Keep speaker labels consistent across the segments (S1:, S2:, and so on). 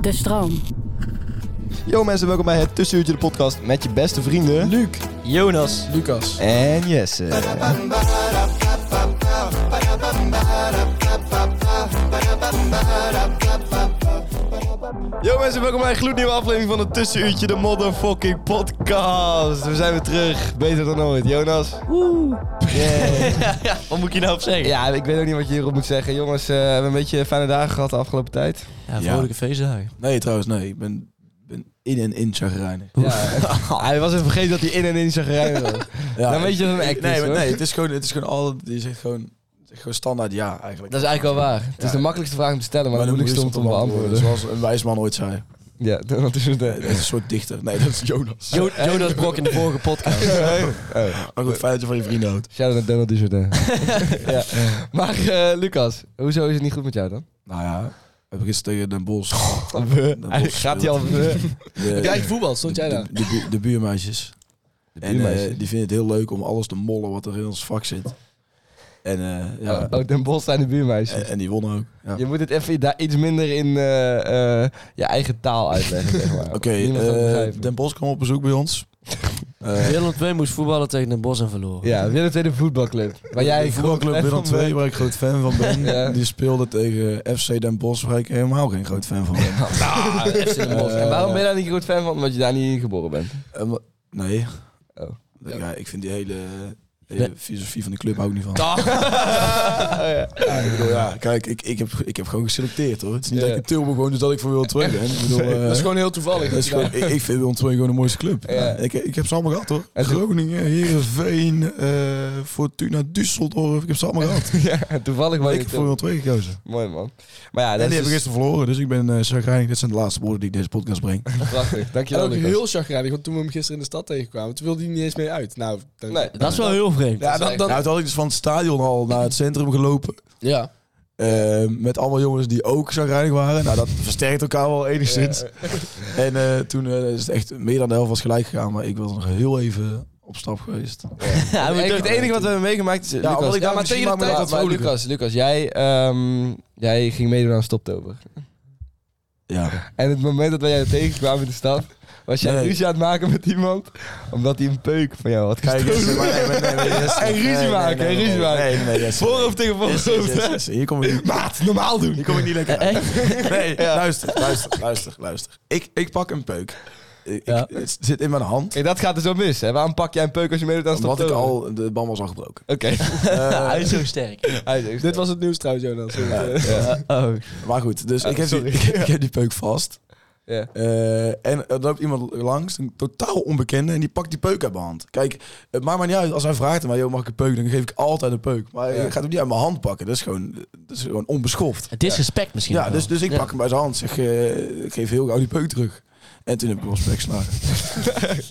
S1: De stroom.
S2: Yo mensen, welkom bij het Tussenuurtje de podcast met je beste vrienden... Luc, Jonas
S3: Lucas.
S2: en Jesse. Yo mensen, welkom bij een gloednieuwe aflevering van het Tussenuurtje de motherfucking podcast. We zijn weer terug, beter dan ooit. Jonas? Woe!
S3: Wat moet ik je nou op zeggen?
S2: ja, ik weet ook niet wat je hierop moet zeggen. Jongens, eh, we hebben een beetje fijne dagen gehad de afgelopen tijd.
S3: Ja,
S4: vrolijke
S3: feestdagen. Nee, trouwens, nee. Ik ben, ben in en in chagrijnig.
S2: Ja, hij was even vergeten dat hij in en in zijn gereden was.
S3: Ja,
S2: Dan weet je dat het een
S3: ik-
S2: act
S3: nee,
S2: is,
S3: maar
S2: hoor.
S3: Nee, het is gewoon, het is gewoon al, je zegt gewoon, het is gewoon standaard ja eigenlijk.
S2: Dat is eigenlijk wel waar. Het is
S3: Ja.
S2: de makkelijkste vraag om te stellen, maar, de moeilijkste om te beantwoorden.
S3: Zoals een wijs man ooit zei.
S2: Ja, dat is het. eh.
S3: Dat is een soort dichter. Nee, dat is Jonas.
S4: Jo Jonas Brok in de vorige podcast.
S2: Oh,
S3: Maar goed, fijn dat je van je vrienden houdt.
S2: shout-out naar Donald Dujardin. ja. Maar eh, Lucas, hoezo is het niet goed met jou dan?
S3: Nou ja, we hebben gisteren tegen Den Bos.
S2: Gaat hij al...
S4: Kijk, voetbal, stond jij daar?
S3: De, de, bu- de buurmeisjes. En eh, die vinden het heel leuk om alles te mollen wat er in ons vak zit. En eh, ja,
S2: Oh, Den Bos zijn de
S3: en,
S2: buurmeisjes.
S3: en die wonnen ook. Ja.
S2: Je moet het even daar iets minder in eh, eh, je eigen taal uitleggen, zeg maar.
S3: Oké,
S2: Niemand gaat het
S3: eh,
S2: begrijpen.
S3: Den Bos kwam op bezoek bij ons. Eh,
S4: Willem II moest voetballen tegen Den Bos en verloren.
S2: Ja, Willem II de voetbalclub. Waar jij
S3: de voetbalclub Willem
S2: groot fan van bent.
S3: II, waar ik groot fan van ben,
S2: Ja.
S3: die speelde tegen FC Den Bosch, waar ik helemaal geen groot fan van ben.
S2: Ah, FC Den Bosch. En
S5: Eh,
S2: waarom ben je daar niet groot fan van? Omdat je daar niet in geboren bent.
S3: Eh, maar- nee.
S2: Oh.
S3: Ja, ik vind die hele, hele filosofie van de club ook niet van.
S2: Ja.
S3: Ja, ik bedoel, ja, kijk, ik, ik, heb, ik heb gewoon geselecteerd hoor. Het is niet
S2: Ja.
S3: dat ik in Tilburg woon, dus dat ik voor Willem II ben. Ik, bedoel, eh,
S4: Dat is gewoon heel toevallig.
S3: dat is gewoon- ik, ik vind Willem II gewoon de mooiste club.
S2: Ja.
S3: Ja, ik, ik heb ze allemaal gehad hoor.
S2: En toen-
S3: Groningen, Heerenveen, eh Fortuna, Düsseldorf, ik heb ze allemaal gehad.
S2: Ja, toevallig was
S3: ik heb voor Willem 2 gekozen.
S2: Mooi man. Maar ja,
S3: en
S2: dat
S3: die hebben
S2: is dus
S3: gisteren verloren, dus ik ben eh chagrijnig. Dit zijn de laatste woorden die ik deze podcast breng.
S2: prachtig.
S4: En
S2: Dankjewel
S4: ook
S2: Lucas.
S4: heel chagrijnig, want toen we hem gisteren in de stad tegenkwamen, toen wilde hij niet eens mee uit. Nou, dan-
S2: Nee.
S5: Dat is wel heel vreemd.
S4: Ja,
S2: Ja,
S4: dat,
S3: Dan...
S2: dat-
S4: dat,
S3: Nou, toen had ik dus van het stadion al naar het centrum gelopen.
S4: ja.
S3: eh, met allemaal jongens die ook chagrijnig waren. Nou, dat versterkt elkaar wel enigszins. En eh, toen eh, is het echt meer dan de helft was gelijk gegaan. Maar ik was nog heel even op stap geweest.
S2: Ja,
S5: maar
S2: maar
S5: dat-
S2: het enige wat we hebben meegemaakt is... Lucas,
S3: omdat ik daar
S2: maar
S3: misschien
S2: tegen de
S3: maar met wat
S2: tijd- maar
S3: vrolijker.
S2: Lucas, Lucas, jij, ehm, jij ging meedoen aan Stoptober.
S3: Ja.
S2: En het moment dat wij jou tegenkwamen in de stad, was jij
S3: Nee.
S2: ruzie aan het maken met iemand, omdat hij een peuk van jou had
S3: Kijk,
S2: gestolen. En ruzie maken, en ruzie maken.
S3: Nee, nee, yes,
S2: Voorhoofd tegen
S3: yes, yes,
S2: voorhoofd.
S3: yes, yes. Hier kom ik niet.
S2: Maat, normaal doen.
S3: Hier kom ik niet lekker uit.
S5: Echt?
S3: Nee, luister, luister, luister, luister. Ik, ik pak een peuk. Ik,
S5: Ja.
S3: ik- het zit in mijn hand.
S2: Hey, dat gaat er zo mis. Hè? Waarom pak jij een peuk als je meedoet aan
S3: Omdat
S2: Stoptober?
S3: ik al, de band was al gebroken.
S2: Oké.
S3: Eh,
S5: Hij is zo sterk.
S2: Hij is-
S4: Dit was het nieuws trouwens, Jonas. Eh,
S5: Oh.
S3: Maar goed, dus
S2: Ah,
S3: ik, heb die,
S2: sorry.
S3: ik, heb- ik heb die peuk vast.
S2: Ja.
S3: Eh, en er loopt iemand langs, een totaal onbekende, en die pakt die peuk uit mijn hand. Kijk, het maakt mij niet uit als hij vraagt aan mij, joh, mag ik een peuk? Dan geef ik altijd een peuk. Maar
S2: Ja.
S3: je gaat hem niet uit mijn hand pakken. Dat is gewoon, dat is gewoon onbeschoft.
S5: Het is respect misschien.
S3: Ja,
S5: wel.
S3: dus, dus ik
S5: Ja.
S3: pak hem bij zijn hand. Zeg, eh, ik geef heel gauw die peuk terug. En toen heb ik hem op zijn bek geslagen.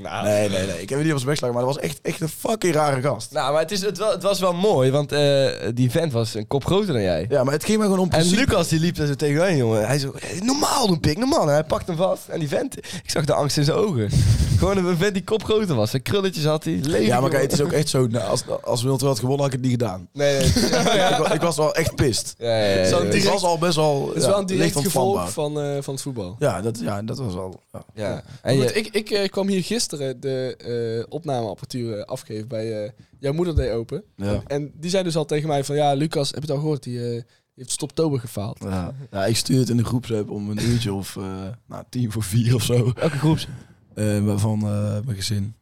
S2: Nou.
S3: Nee, nee, nee. Ik heb hem niet op zijn bek geslagen, maar dat was echt, echt een fucking rare gast.
S2: Nou, maar het, is, het, wel, het was wel mooi, want eh, die vent was een kop groter dan jij.
S3: Ja, maar het ging mij gewoon om
S2: En
S3: principe.
S2: Lucas die liep daar zo tegenaan, jongen. Hij zo, "Hey, normaal doen, pik, normaal. En hij pakt hem vast. En die vent, ik zag de angst in zijn ogen. Gewoon een vent die kop groter was. Zijn krulletjes had hij. Lelijk,
S3: Ja, maar kijk, het
S2: jongen.
S3: is ook echt zo. nou, als, als Wild had gewonnen, had ik het niet gedaan.
S2: Nee, nee. het is- Ja,
S3: ik, wa- ik was wel echt pist.
S2: ja, ja, ja,
S4: Zo'n
S2: ja.
S3: Het
S4: direct-
S3: was al best wel.
S4: Het is
S3: ja,
S4: wel een direct
S3: licht
S4: gevolg
S3: ontvlambaar.
S4: van, eh, van het voetbal.
S3: Ja, dat, ja, dat was al. Ja.
S2: Ja. En
S4: Goed,
S2: je,
S4: ik ik eh, kwam hier gisteren de eh, opnameapparatuur eh, afgeven bij eh, jouw moeder deed open.
S3: Ja.
S4: En die zei dus al tegen mij van, ja, Lucas, heb je het al gehoord? Die, eh, die heeft Stoptober gefaald.
S3: Ja. Ja, ik stuur het in de groepsapp om een uurtje of eh nou, tien voor vier of zo.
S5: Elke groeps.
S3: eh, van eh, mijn gezin.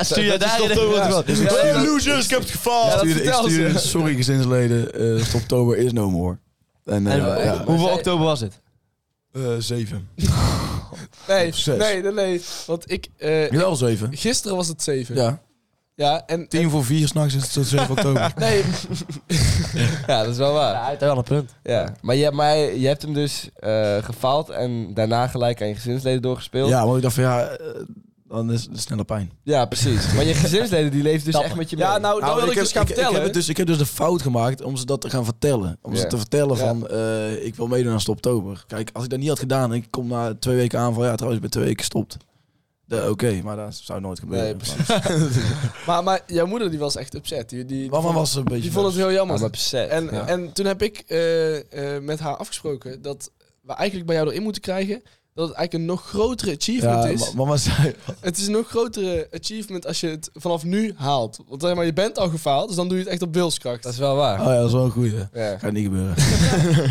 S5: Stuur je
S2: Dat is
S5: daar in
S2: Stoptober
S5: de
S2: het wel.
S3: Dus ik
S2: Ja,
S3: stuur-
S2: hey, losers, ik heb het gefaald.
S3: ik
S4: dat
S3: stuurde, ik
S4: vertel ze.
S3: stuurde, sorry gezinsleden, eh stoptober is no more. En, eh,
S5: En
S3: ja, ja.
S5: hoeveel
S4: zij-
S5: oktober was het?
S3: Eh, zeven.
S4: Nee,
S3: Zes.
S4: nee, nee, nee. Want ik... eh,
S3: Wel zeven.
S4: gisteren was het 7. Ja,
S3: Ja,
S4: en...
S3: tien voor vier s'nachts is het tot 7 oktober.
S4: Nee. ja, dat is wel waar.
S5: Ja, hij heeft wel een punt.
S2: Ja, maar je, maar je hebt hem dus eh, gefaald en daarna gelijk aan je gezinsleden doorgespeeld.
S3: Ja, want ik dacht van ja, eh, dan is het sneller
S4: Oh,
S3: pijn.
S2: Ja, precies. Maar je gezinsleden die leeft dus echt met je mee.
S4: Ja, nou, dat wil ik, dus gaan
S3: heb,
S4: vertellen.
S3: heb het dus, ik heb dus de fout gemaakt om ze dat te gaan vertellen. Om ze
S2: Ja.
S3: te vertellen
S4: Ja.
S3: van, eh, ik wil meedoen aan Stoptober. Kijk, als ik dat niet had gedaan en ik kom na twee weken aan van, ja trouwens, ik ben twee weken gestopt. De- Oké, maar dat zou nooit gebeuren.
S4: Nee, precies. maar, maar jouw moeder die was echt upset. Die, die,
S3: Mama was een beetje...
S4: die vond het
S3: boos.
S4: heel jammer.
S2: Ja, Ah, maar besef.
S4: En,
S2: Ja.
S4: en toen heb ik eh, eh, met haar afgesproken dat we eigenlijk bij jou erin moeten krijgen dat het eigenlijk een nog grotere achievement
S3: ja,
S4: is.
S3: ma- mama zei,
S4: Het is een nog grotere achievement als je het vanaf nu haalt. Want zeg maar, je bent al gefaald, dus dan doe je het echt op wilskracht.
S2: dat is wel waar.
S3: oh ja, dat is wel een goeie.
S2: Ja.
S3: Gaat niet gebeuren.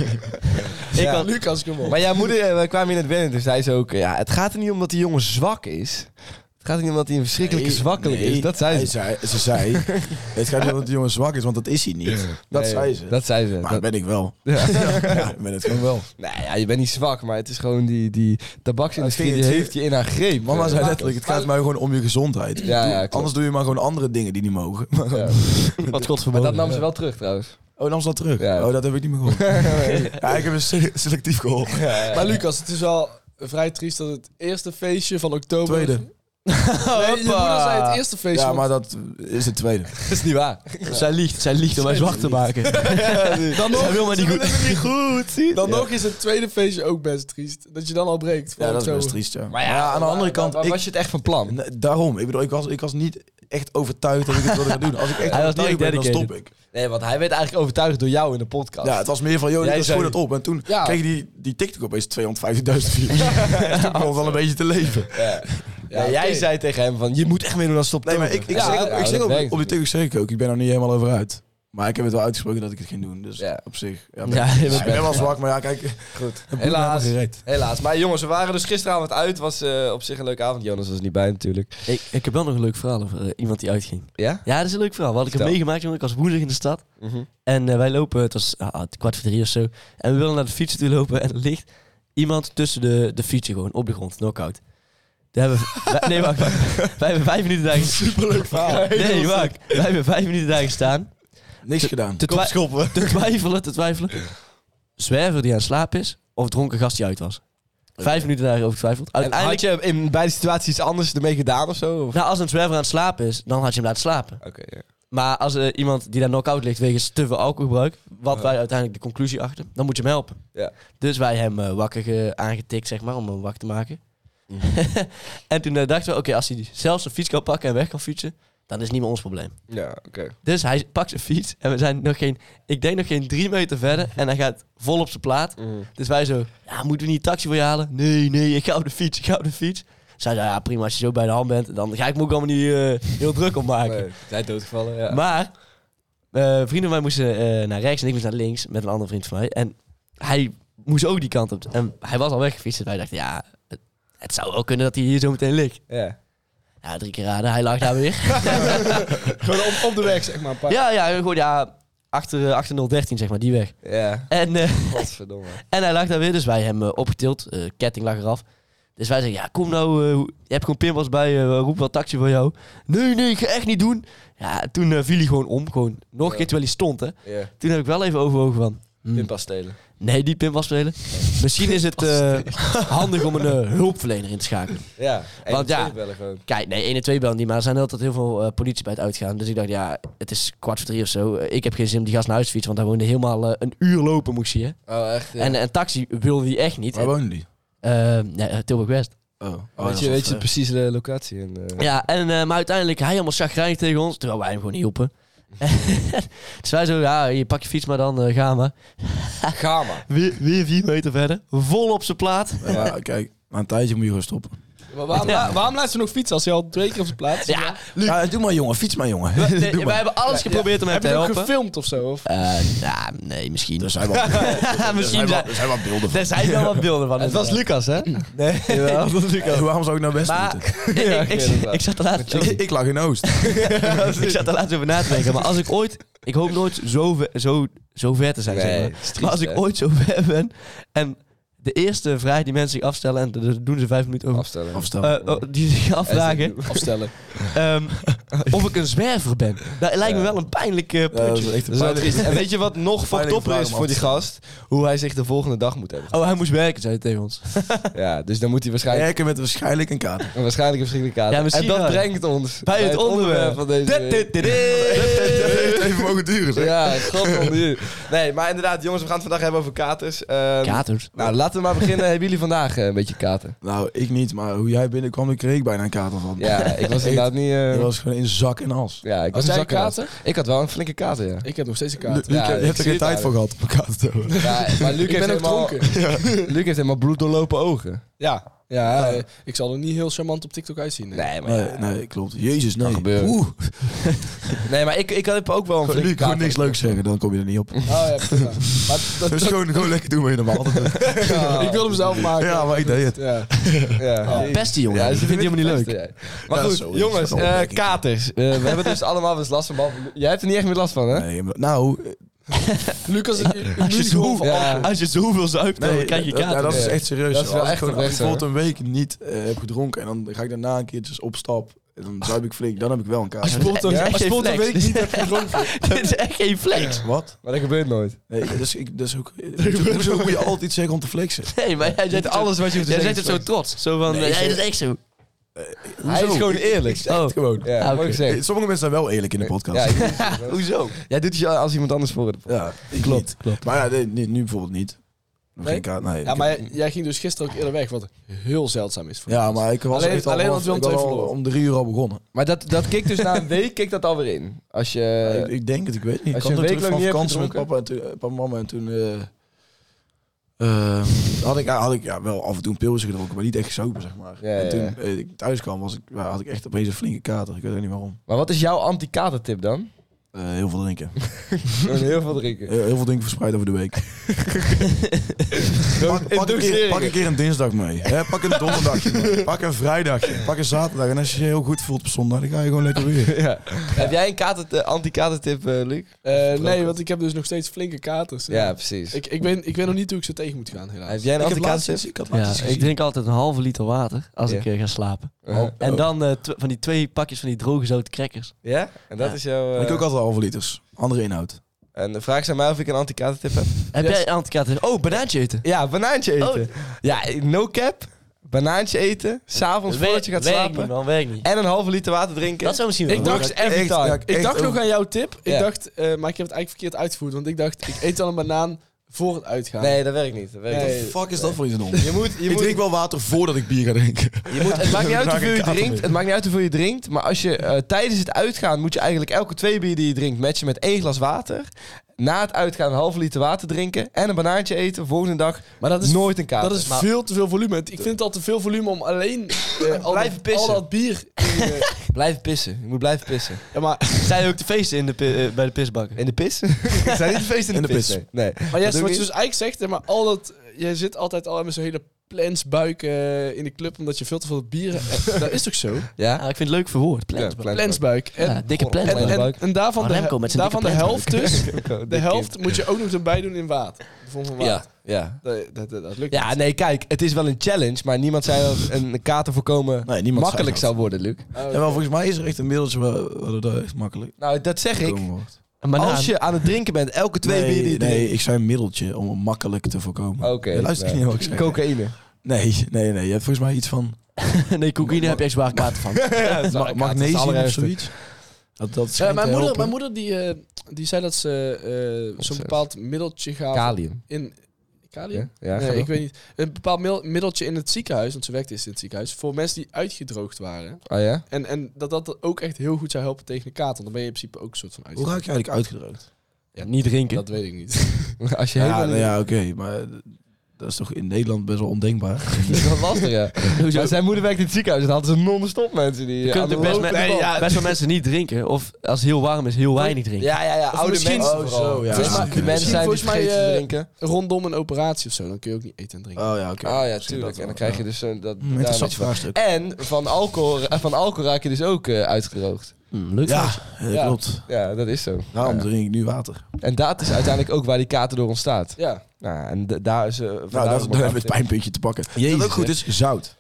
S2: Ik
S4: ja.
S2: had-
S4: Lucas, kom op.
S2: Maar jouw moeder eh, wij kwamen in het binnen, toen zei ze ook... eh, Ja, het gaat er niet om dat die jongen zwak is. Het gaat er niet om dat hij een verschrikkelijke
S3: Nee,
S2: zwakkeling
S3: nee,
S2: is. Dat zei
S3: hij
S2: ze.
S3: Ze zei, het gaat niet om dat die jongen zwak is, want dat is hij niet. Dat
S2: Nee,
S3: zei ze.
S2: Dat zei ze.
S3: maar
S2: Dat-
S3: dat ben ik wel.
S2: Ja.
S3: Ja, ik ben het gewoon wel.
S2: Nou ja, je bent niet zwak, maar het is gewoon die, die tabaksindustrie
S3: Het
S2: die
S3: ging-
S2: heeft je in haar greep.
S3: Mama
S2: Eh,
S3: zei letterlijk, het gaat mij gewoon om je gezondheid.
S2: Ja,
S3: Doe-
S2: ja, klopt.
S3: Anders doe je maar gewoon andere dingen die niet mogen.
S2: Ja.
S5: Wat
S2: Maar
S5: godverboden.
S2: dat nam ze wel terug trouwens.
S3: Oh, nam ze dat terug?
S2: Ja.
S3: Oh, dat heb ik niet meer gehoord. ja, ik heb een se- selectief gehoord.
S4: Maar Lucas, het is wel vrij triest dat het eerste feestje van oktober...
S3: Tweede.
S4: Nee, je moeder zei het eerste feestje.
S3: Ja,
S4: want-
S3: maar dat is het tweede.
S2: Dat is niet waar.
S5: Zij liegt, zij liegt om mij zwart te maken.
S4: dan nog,
S5: Zij wil mij niet goed.
S2: niet goed, zie
S4: dan nog is het tweede feestje ook best triest. Dat je dan al breekt. van
S3: Ja, dat is
S4: oktober.
S3: best triest, ja.
S2: Maar ja,
S3: aan de andere kant,
S2: waar
S3: ik-
S2: was je het echt van plan?
S3: Nee, daarom. Ik bedoel, ik was, ik was niet echt overtuigd dat ik het wilde gaan doen. Als ik echt
S5: Hij was niet
S3: overtuigd ben, dan
S5: dedicated.
S3: stop ik.
S2: Nee, want hij werd eigenlijk overtuigd door jou in de podcast.
S3: Ja, het was meer van, joh,
S2: Jij
S3: dit is
S2: zei-
S3: gewoon het op. En toen
S4: Ja.
S3: kreeg die, die TikTok opeens 250.000 views. Dus toen begon het wel een beetje te leven.
S2: Ja, jij
S4: oké.
S2: zei tegen hem van, je moet echt meedoen aan stop.
S3: Nee, maar ik, ik
S4: Ja,
S3: zeg,
S4: nou,
S3: ik zeg
S2: dat
S3: op,
S2: werkt
S3: op die TikTok zeg ik ook, ik ben er niet helemaal over uit. Maar ik heb het wel uitgesproken dat ik het ging doen. Dus
S2: Ja.
S3: op zich, ja,
S5: Ja, je bent
S3: ik ben wel zwak, maar ja, kijk. Goed.
S2: Helaas. Helaas. Maar jongens, we waren dus gisteravond uit. Was eh, op zich een leuke avond. Jonas was er niet bij natuurlijk.
S5: Ik, ik heb wel nog een leuk verhaal over eh, iemand die uitging.
S2: Ja?
S5: Ja, dat is een leuk verhaal. Wat ik heb
S2: Vertel.
S5: meegemaakt, jongen. Ik was woensdag in de stad.
S2: Mhm.
S5: En eh, wij lopen, het was ah, het kwart voor drie of zo. En we willen naar de fietsen toe lopen. En er ligt iemand tussen de, de fietsen gewoon op de grond, knock-out. Daar hebben we, wij- nee, wacht, wacht. Wij hebben vijf minuten daar gestaan.
S3: Superleuk verhaal.
S5: Nee, wacht. Wij hebben vijf minuten daar gestaan.
S3: Niks gedaan.
S5: te
S3: Kop
S5: twi-
S3: schoppen.
S5: Te twijfelen, te twijfelen. Zwerver die aan het slapen is. Of dronken gast die uit was. Vijf minuten daarover getwijfeld.
S2: En had
S5: Uiteindelijk,
S2: je in beide situaties iets anders ermee gedaan of zo? Of?
S5: nou, als een zwerver aan het slapen is, dan had je hem laten slapen.
S2: Oké, ja.
S5: Maar als eh, iemand die daar knock-out ligt wegens te veel alcoholgebruik, wat wij uiteindelijk de conclusie achter, dan moet je hem helpen.
S2: Ja.
S5: Dus wij hebben hem eh, wakker ge- aangetikt, zeg maar, om hem wakker te maken. en toen eh, dachten we, oké, als hij zelf zijn fiets kan pakken en weg kan fietsen, dan is het niet meer ons probleem.
S2: Ja, oké.
S5: Dus hij pakt zijn fiets en we zijn nog geen, ik denk nog geen drie meter verder en hij gaat vol op zijn plaat.
S2: Mhm.
S5: Dus wij zo, ja, moeten we niet een taxi voor je halen? Nee, nee, ik ga op de fiets, ik ga op de fiets. Zij zei, ja, prima, als je zo bij de hand bent, dan ga ik me ook allemaal niet eh, heel druk op maken.
S2: Nee, zijn doodgevallen, ja.
S5: Maar eh, vrienden van mij moesten eh, naar rechts en ik moest naar links met een andere vriend van mij. En hij moest ook die kant op. En hij was al weggefietst. En wij dachten, ja, het, het zou wel kunnen dat hij hier zo meteen ligt.
S2: ja.
S5: Ja, drie keer raden. Hij lag daar weer.
S4: Gewoon op, op de weg, zeg maar. Een paar.
S5: ja, ja, gewoon ja, achter, eh, achter 013 zeg maar, die weg.
S2: Ja,
S5: En, eh,
S2: godverdomme.
S5: en hij lag daar weer, dus wij hebben hem eh, opgetild. Eh, ketting lag eraf. Dus wij zeggen, ja, kom nou, eh, je hebt gewoon pinpas bij je, we roepen wel taxi voor jou. Nee, nee, ik ga echt niet doen. Ja, toen eh, viel hij gewoon om, gewoon nog een keer terwijl hij stond, hè.
S2: Ja.
S5: Toen heb ik wel even overwogen van, hmm,
S2: Pinpas stelen.
S5: Nee, die pinpas spelen. Misschien is het eh, handig om een eh, hulpverlener in te schakelen.
S2: Ja, en
S5: Want ja.
S2: bellen gewoon.
S5: Kijk, nee, 1 en 2 bellen niet, maar er zijn altijd heel veel eh, politie bij het uitgaan. Dus ik dacht, ja, het is kwart voor drie of zo. Eh, ik heb geen zin om die gast naar huis te fietsen, want hij woonde helemaal eh, een uur lopen, moest je.
S2: Oh, echt? Ja.
S5: En eh, een taxi wilde hij echt niet.
S3: Waar woonde die?
S5: Eh, ja, eh, Tilburg-West.
S3: Oh.
S2: weet je, weet je precies de locatie? En, eh,
S5: Ja, en, eh, maar uiteindelijk, hij helemaal chagrijnig tegen ons, terwijl wij hem gewoon niet hielpen. dus wij zo, ja, je pak je fiets maar dan, eh, ga maar.
S2: Gama.
S5: Weer, weer vier meter verder, vol op zijn plaat.
S3: Ja, kijk, na een tijdje moet je gewoon stoppen.
S4: Maar waarom, waarom laat ze nog fietsen als je al twee keer op zijn plaats?
S5: Ja,
S3: Ja, doe maar jongen, fiets maar jongen.
S5: we, nee, wij hebben alles geprobeerd om hem
S4: Heb
S5: te
S4: je het ook
S5: helpen.
S4: gefilmd of zo? Of?
S5: Eh, nou, nee, misschien.
S3: Er zijn wel, er
S5: misschien
S3: zijn wel,
S5: zijn
S3: er zijn wel beelden van.
S5: er zijn wel wat beelden van.
S2: Het was
S5: inderdaad.
S2: Lucas, hè?
S3: Nee,
S2: Jawel.
S3: Eh, waarom zou ik nou best
S5: Maar
S3: moeten?
S5: ik, ik, ik,
S2: inderdaad.
S5: ik zat er laatst
S3: Ik, ik lag in Oost.
S5: ik zat er laatst over na te denken. Maar als ik ooit... Ik hoop nooit zo, ver- zo, zo ver te zijn, zeg maar. Maar als ik ooit zo ver ben en de eerste vraag die mensen zich afstellen... en daar doen ze vijf minuten over...
S2: afstellen.
S3: Afstel.
S5: eh, oh, die zich afvragen
S4: Afstellen.
S5: ehm, of ik een zwerver ben. Dat lijkt me wel een pijnlijk eh,
S3: Ja, dat
S5: putje.
S3: is echt
S2: Dus Dat is wel
S3: een
S2: triest. En weet je wat
S3: Pijnlijke
S2: nog fucked upper
S3: vraag
S2: is
S3: om
S2: voor
S3: af
S2: die
S3: te
S2: gast? Hoe hij zich de volgende dag moet hebben.
S5: Oh, hij moest werken, zei hij tegen ons.
S2: Ja, dus dan moet hij waarschijnlijk,
S3: Werken met waarschijnlijk een kaart.
S2: en waarschijnlijk een verschillende kaart.
S5: Ja, misschien
S2: en dat
S5: wel.
S2: brengt ons
S5: Bij het onderwerp
S2: van deze week.
S3: heeft even mogen duren, zeg.
S2: Ja, god nu. Nee, maar inderdaad, jongens, we gaan het vandaag hebben over katers. Ehm,
S5: Katers.
S2: Nou, laten we maar beginnen. Hebben jullie vandaag eh, een beetje kater?
S3: Nou, ik niet, maar hoe jij binnenkwam, ik kreeg ik bijna een kater van.
S2: Ja, ik was
S3: Echt,
S2: inderdaad niet... eh,
S3: Je was gewoon in zak en as.
S2: Ja, ik
S4: Als
S2: was
S4: jij
S2: een
S4: een
S2: zakkenras.
S4: kater?
S2: Ik had wel een flinke kater, ja.
S4: Ik heb nog steeds
S3: Luc,
S4: een kaart.
S2: Ja,
S3: je
S2: ik
S3: hebt er
S2: zie
S3: geen
S2: het
S3: tijd voor gehad om elkaar te hebben.
S2: ja maar Luc,
S4: ik
S2: heeft
S4: ben ook
S2: helemaal,
S4: dronken.
S2: Luc heeft helemaal bloed doorlopen ogen.
S4: Ja, ja eh, ik zal er niet heel charmant op TikTok uitzien. Nee.
S2: Nee, maar,
S3: Nee, nee, klopt. Jezus, nee.
S2: Kan gebeuren.
S3: Oeh,
S2: nee, maar ik, ik heb ook wel een flinke
S3: Luc, gewoon
S2: kater.
S3: niks leuks zeggen, dan kom je er niet op.
S4: Oh, ja, prima. maar dat,
S3: Dus gewoon, gewoon lekker doen wat je normaal altijd doet.
S4: ja, ik wil hem zelf maken.
S3: Ja, maar ik deed het.
S4: Ja.
S2: Ja.
S3: Nou,
S5: Ja, pestie, jongen.
S2: Ja,
S5: Ja,
S2: ze
S5: dat vind ik helemaal niet leuk.
S2: Maar
S3: Ja,
S2: goed,
S3: sorry, dat
S2: jongens,
S3: is een
S2: eh,
S3: opmerking.
S2: katers. Eh, we hebben dus allemaal wel eens last van. behalve- Jij hebt er niet echt meer last van, hè?
S3: Nee, maar- nou,
S4: Lucas, ik- ik-
S5: Als je,
S4: nu gewoon
S5: zoveel,
S4: van
S2: Ja.
S4: alcohol.
S5: als je zoveel zuipt, dan
S3: nee,
S5: krijg je
S3: dat-
S5: kater.
S3: ja, dat is
S2: Nee.
S3: echt serieus.
S2: Dat is
S3: joh.
S2: wel
S3: Als ik
S2: echt
S3: gewoon-
S2: een
S3: Als ik
S2: weg,
S3: bijvoorbeeld een week niet eh, heb gedronken en dan ga ik daarna een keertjes op stap, en dan zuip ik flink, dan heb ik wel een
S5: Als je
S3: kaart.
S5: bijvoorbeeld een-
S2: Ja,
S5: als
S2: maar
S5: je
S2: sport
S5: bijvoorbeeld
S2: een week
S5: een week niet hebt gedronken. Dit is echt geen flex.
S3: Wat?
S2: Maar dat gebeurt nooit.
S3: Nee, dat is, ik, dat is ook... Hoezo moet je altijd iets zeggen om te flexen?
S5: Nee, maar jij zegt alles wat je Jij zegt het zo trots. Zo van,
S2: eh,
S3: Nee,
S5: ja,
S3: ik-
S5: dat is echt
S2: Oh.
S5: zo.
S2: Hij is gewoon eerlijk.
S5: Oh.
S2: Echt gewoon. Ja,
S5: Ah,
S2: mooi
S5: oké.
S2: gezegd.
S3: Sommige mensen zijn wel eerlijk in de podcast.
S2: Ja, ik-
S5: Hoezo?
S2: jij doet het als iemand anders voor. het-
S3: Ja, ik
S5: Klopt,
S3: niet. Maar ja, nee, nu, nu bijvoorbeeld niet. Nog
S4: Nee?
S3: Geen kaart, nee.
S4: Ja,
S3: Ik
S4: maar
S3: heb-
S4: jij- jij ging dus gisteren ook eerder weg, wat heel zeldzaam is. Voor
S3: ja, maar ik was
S4: Alleen-
S3: echt al,
S4: alleen
S3: half-
S4: want Willem
S3: ik was
S4: II
S3: al
S4: verloor.
S3: om drie uur al begonnen.
S2: Maar dat, dat kikt dus na een week kikt dat alweer in. Als je...
S3: ik, ik denk het, ik weet niet. Ik
S2: als
S3: kwam
S2: je een
S3: terug
S2: week lang
S3: van
S2: niet hebt
S3: vakantie met papa en, toen, eh, papa en mama en toen... eh, eh, had ik, ja, had ik ja, wel af en toe een pilsje gedronken, maar niet echt sober, zeg maar.
S2: Ja, ja,
S3: en toen
S2: ja.
S3: eh, ik thuis kwam, was ik, ja, had ik echt opeens een flinke kater. Ik weet ook niet waarom.
S2: Maar wat is jouw anti-katertip dan?
S3: Eh, heel veel drinken.
S2: Gewoon heel veel drinken.
S3: Heel, heel veel dingen verspreid over de week. pak, pak, een keer,
S2: Inducering.
S3: pak een keer een dinsdag mee. Hè, pak een donderdagje mee. Pak een vrijdagje. Pak een zaterdag. En als je je heel goed voelt op zondag, dan ga je gewoon lekker weer.
S2: Ja. Heb jij een kater, eh, anti-katertip, eh, Luc?
S4: Eh, nee, want ik heb dus nog steeds flinke katers. eh.
S2: Ja, precies.
S4: Ik, ik, weet, ik weet nog niet hoe ik ze tegen moet gaan, helaas.
S2: Heb jij een
S3: Ik heb laatst
S2: anti-katertip?
S3: iets- ik had laatst
S5: Ja,
S3: iets
S5: ik
S3: gezien.
S5: drink altijd een halve liter water als
S2: Ja.
S5: ik eh, ga slapen.
S2: Uh-huh.
S5: En dan eh, tw- van die twee pakjes van die droge zoute crackers.
S2: Ja? En dat
S5: Ja.
S2: is jouw... eh,
S3: Ik ook altijd halve liters. Andere inhoud.
S2: En de vraag is aan mij of ik een anti-katertip heb.
S5: Heb
S4: Yes.
S5: jij een antikater? Oh, banaantje eten.
S2: Ja, banaantje eten. Ja, no cap. Banaantje eten. S'avonds voordat je gaat
S5: Werkt
S2: slapen.
S5: niet, man, werkt niet.
S2: En een halve liter water drinken.
S5: Dat zou misschien wel
S4: Ik
S5: werken.
S4: dacht
S2: echt-
S4: every time.
S2: ja,
S4: ik
S3: echt
S4: dacht
S3: ook.
S4: nog aan jouw tip. Ik
S2: Ja.
S4: dacht, eh, maar ik heb het eigenlijk verkeerd uitgevoerd. Want ik dacht, ik eet al een banaan voor het uitgaan.
S2: Nee, dat werkt niet. Dat werkt
S4: Nee.
S2: niet.
S3: fuck is dat voor iets een
S2: Je moet, je
S3: Ik
S2: moet,
S3: drink wel water voordat ik bier ga drinken.
S2: je moet, het maakt niet uit
S3: Daar
S2: hoeveel je
S3: raak ik
S2: drinkt.
S3: aan.
S2: Het maakt niet uit hoeveel je drinkt. Maar als je eh, tijdens het uitgaan moet je eigenlijk elke twee bier die je drinkt matchen met één glas water. Na het uitgaan een halve liter water drinken en een banaantje eten. Volgende dag
S4: Maar dat is,
S2: nooit een kater.
S4: dat is
S2: Maar-
S4: veel te veel volume. Ik vind het al te veel volume om alleen eh, al,
S2: Blijven
S4: dat, al
S2: pissen.
S4: dat bier... in eh, je-
S2: Blijven pissen. Je moet blijven pissen.
S4: ja, maar,
S5: Zijn er ook de feesten in de, pi- eh, bij de pisbakken?
S2: In de pis? Ik zei niet de feest in,
S3: In
S2: de,
S3: de
S2: pis.
S3: pis.
S2: nee. Nee.
S4: maar yes,
S2: doe
S4: wat
S2: ik
S4: je dus eigenlijk zegt, hè, maar al dat, je zit altijd al met zo'n hele plansbuik eh, in de club omdat je veel te veel bier hebt. dat is toch zo?
S2: Ja?
S5: Ah, ik vind het leuk verwoord. Plans.
S2: Ja, plans-
S4: Plansbuik. En,
S5: Ja, dikke plans.
S4: en, en, en daarvan,
S5: Oh,
S4: de,
S5: Remco met
S4: he-
S5: zijn
S4: daarvan de
S5: dikke
S4: helft dus,
S2: Dikke
S4: de
S2: kind.
S4: helft moet je ook nog erbij doen in water. De vorm van water.
S2: Ja, ja.
S4: Dat, dat, dat, dat lukt
S2: Ja, nee, kijk, het is wel een challenge, maar niemand zei dat een kater voorkomen
S3: Nee, niemand
S2: makkelijk
S3: zei
S2: zou worden, Luc.
S4: Oh,
S3: Ja, wel, volgens mij is er echt een middeltje waar waar dat echt makkelijk
S2: Nou, dat zeg ik.
S3: voorkomen wordt.
S5: Een banaan.
S2: Als je aan het drinken bent, elke twee bier die
S3: nee,
S2: je drinkt.
S3: nee, ik zei een middeltje om het makkelijk te voorkomen.
S2: Oké.
S3: Ja, luister ik
S2: nee.
S3: niet wat ik zeg.
S2: Cocaïne.
S3: Nee, nee, nee. Je hebt volgens mij iets van
S5: nee, cocaïne heb je echt zwaar kater van.
S3: ma-
S2: kaart, dat is het
S3: magnesium of
S2: allerergste.
S3: zoiets. Dat, dat
S4: Ja,
S3: schijnt
S4: mijn,
S3: te
S4: moeder,
S3: helpen.
S4: mijn moeder die, eh, die zei dat ze eh, zo'n
S2: Ontzettend.
S4: bepaald middeltje gaven
S2: Kalium.
S4: in Italië.
S2: Ja, ja, ga
S4: nee,
S2: door.
S4: ik weet niet. Een bepaald mil- middeltje in het ziekenhuis, want ze werkte eerst in het ziekenhuis, voor mensen die uitgedroogd waren.
S2: Oh ja?
S4: En, en dat dat ook echt heel goed zou helpen tegen de kater. Want dan ben je in principe ook een soort van
S3: Hoe raak
S4: uitgedroogd.
S3: je eigenlijk uitgedroogd?
S5: Niet drinken.
S4: Dat weet ik niet.
S2: Als je
S3: Ja,
S2: helemaal
S3: nou
S2: niet-
S3: ja oké. maar Dat is toch in Nederland best wel ondenkbaar.
S2: Dat is wel lastig, ja.
S5: Hoezo?
S2: Maar zijn moeder werkt in het ziekenhuis. Dan hadden ze non-stop mensen die...
S5: Je
S2: aan
S5: kunt
S2: de
S5: ook best,
S2: lopende
S5: me-
S2: band-
S5: best wel mensen niet drinken. Of als het heel warm is, heel weinig drinken.
S2: Ja, ja, ja. Oude
S4: misschien-
S2: mensen
S3: Oh,
S2: vooral.
S3: zo, ja.
S2: Het is
S3: Ja.
S2: maar- die mensen
S4: Misschien
S2: zijn die
S4: volgens mij,
S2: vergeten te
S4: eh,
S2: drinken.
S4: Rondom een operatie of zo, dan kun je ook niet eten en drinken.
S3: Oh ja, oké.
S2: Ah ja,
S3: Misschien
S2: tuurlijk.
S3: dat
S2: En dan
S3: wel,
S2: krijg
S3: ja.
S2: je dus... eh, dat,
S3: Hm,
S2: daar weet
S3: Interessant
S2: je van.
S3: vraagstuk.
S2: En van alcohol, eh, van alcohol raak je dus ook eh, uitgedroogd.
S5: Hm, leuk.
S3: Ja, eh,
S2: Ja.
S3: klopt.
S2: Ja, dat is zo.
S3: Daarom
S2: Ja.
S3: drink ik nu water. Nou,
S2: En dat is uiteindelijk ook waar die kater door ontstaat.
S4: Ja.
S2: Nou, en d- daar is... eh,
S3: Nou,
S2: vandaar
S3: dat
S2: ook
S3: hebben
S2: maar
S3: we het
S2: af-
S3: pijnpuntje te pakken.
S2: Jezus,
S3: dat ook goed is, zout.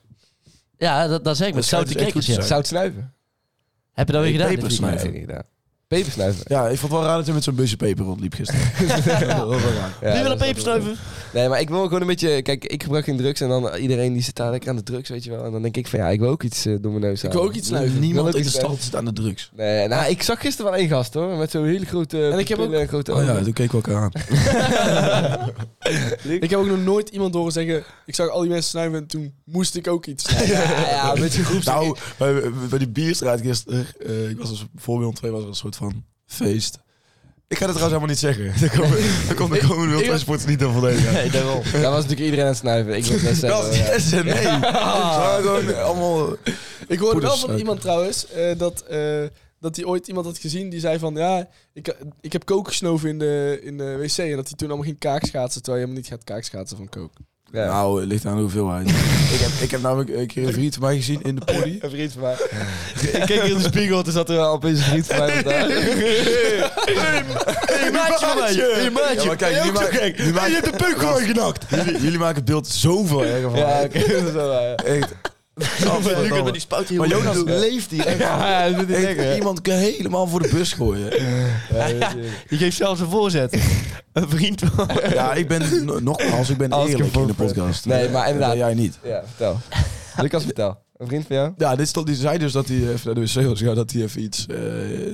S5: Ja, dat, dat zeg ik. Met
S3: Dat zou
S5: zoute
S3: dus echt goed
S5: kikkers. ja.
S3: zijn.
S2: Zout snuiven.
S5: Heb je dat weer
S3: Nee,
S5: gedaan?
S3: pepers
S5: dit
S2: Nee,
S5: weekend?
S2: dat
S3: Snuiven.
S2: heb ik niet gedaan. Peper snuiven.
S3: Ja, ik vond het wel raar dat je met zo'n busje peper rondliep gisteren. Dat was wel raar.
S2: Ja,
S5: Wie wil
S2: dat
S5: een
S2: is
S5: peper
S2: wel-
S5: snuiven?
S2: Nee, maar ik wil gewoon een beetje... Kijk, ik gebruik geen drugs en dan iedereen die zit daar lekker aan de drugs, weet je wel. En dan denk ik van ja, ik wil ook iets eh, door mijn neus
S4: Ik
S2: halen.
S4: wil ook iets snuiven.
S3: Niemand
S2: Wil ook
S3: in de
S2: iets
S3: stad zit aan de drugs.
S2: Nee, nou, ik zag gisteren wel één gast hoor, met zo'n hele grote en ik heb ook... en grote
S3: Oh ja,
S2: ogen.
S3: toen keek ik elkaar aan.
S4: Ik heb ook nog nooit iemand horen zeggen, ik zag al die mensen snuiven en toen moest ik ook iets snuiven.
S2: ja, ja, met je groep.
S3: Nou, bij, bij die bierstraat gisteren, eh, ik was als voorbeeld twee, was er een soort van feest. Ik ga dat trouwens helemaal niet zeggen. Dan komen, dan komen de komende wildtransporters niet aan voldaan.
S5: Nee, daarom.
S2: Daar was natuurlijk iedereen aan het snuiven. Ik wil net zeggen.
S3: Dat is
S2: ja.
S3: yes en nee.
S5: Ah.
S3: Ze waren gewoon allemaal...
S4: Ik hoorde wel van
S3: Poedersuiker.
S4: iemand trouwens eh, dat, eh, dat hij ooit iemand had gezien die zei van ja, ik, ik heb kook gesnoven in de, in de wc. En dat hij toen allemaal ging kaakschaatsen, terwijl je helemaal niet gaat kaakschaatsen van kook.
S2: Ja.
S3: Nou, het ligt aan de hoeveelheid. ik, heb, ik heb namelijk een keer een vriend van mij gezien in de poli.
S2: Een vriend van mij. ik keek in de spiegel, toen zat er wel opeens een vriend van mij.
S5: Hey, maatje van mij. Hey,
S3: Ja, maar
S5: maatje.
S3: kijk, nu, maak, nu maak,
S5: hebt de peuk gewoon genakt.
S3: jullie, jullie maken het beeld zoveel erger van.
S2: Ja, oké. dat is wel waar, ja.
S3: Echt.
S5: Nu kan met die spuit hier.
S3: Maar
S5: jongen.
S3: Jonas leeft hier. echt.
S2: Ja, dat vind ik
S3: Echt,
S2: lekker, hè.
S3: iemand kan helemaal voor de bus gooien.
S5: Die geeft zelfs een voorzet. een vriend van
S3: Ja, ik ben no- nogmaals, ik ben
S2: Als ik
S3: eerlijk
S2: hem
S3: in de
S2: voor-
S3: podcast.
S2: Nee, maar
S3: Dat
S2: inderdaad.
S3: ben jij niet.
S2: Ja, vertel. Lucas, vertel. Een vriend van jou?
S3: Ja, dit stond, die zei dus dat hij even naar de wc was gegaan, dat hij even iets eh,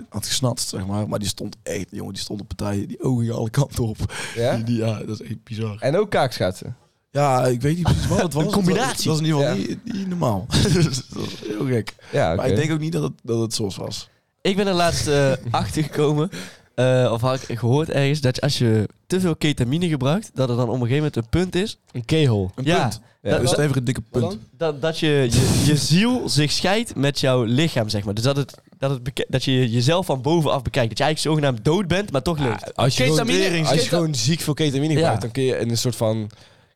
S3: had gesnatst, zeg maar. Maar die stond echt, jongen, die stond op partijen, die ogen gingen alle kanten op.
S2: Ja?
S3: Die, die- ja, dat is echt bizar.
S2: En ook kaakschaatsen.
S3: Ja, ik weet niet precies wat het was.
S5: Een combinatie.
S3: Dat was in ieder geval
S2: Ja.
S3: niet, niet normaal. Dus dat was heel gek.
S2: Ja,
S3: Maar ik denk ook niet dat het, dat het zoals was.
S5: Ik ben er laatst eh, achter gekomen. eh, of had ik gehoord ergens dat je als je te veel ketamine gebruikt, dat er dan op een gegeven moment een punt is.
S2: Een kegel.
S3: Een
S5: ja,
S3: punt.
S2: Ja,
S5: dat,
S3: Dat is
S5: dat,
S3: even een dikke
S4: Wat
S3: punt.
S4: dan?
S5: dat, dat je, je je ziel zich scheidt met jouw lichaam, zeg maar. Dus dat, het, dat, het beke- dat je jezelf van bovenaf bekijkt. Dat je eigenlijk zogenaamd dood bent, maar
S2: Ah,
S5: toch leeft.
S2: Als je, gewoon,
S4: Ketamine-
S2: als je
S4: keta-
S2: gewoon ziek veel ketamine gebruikt, dan kun je in een soort van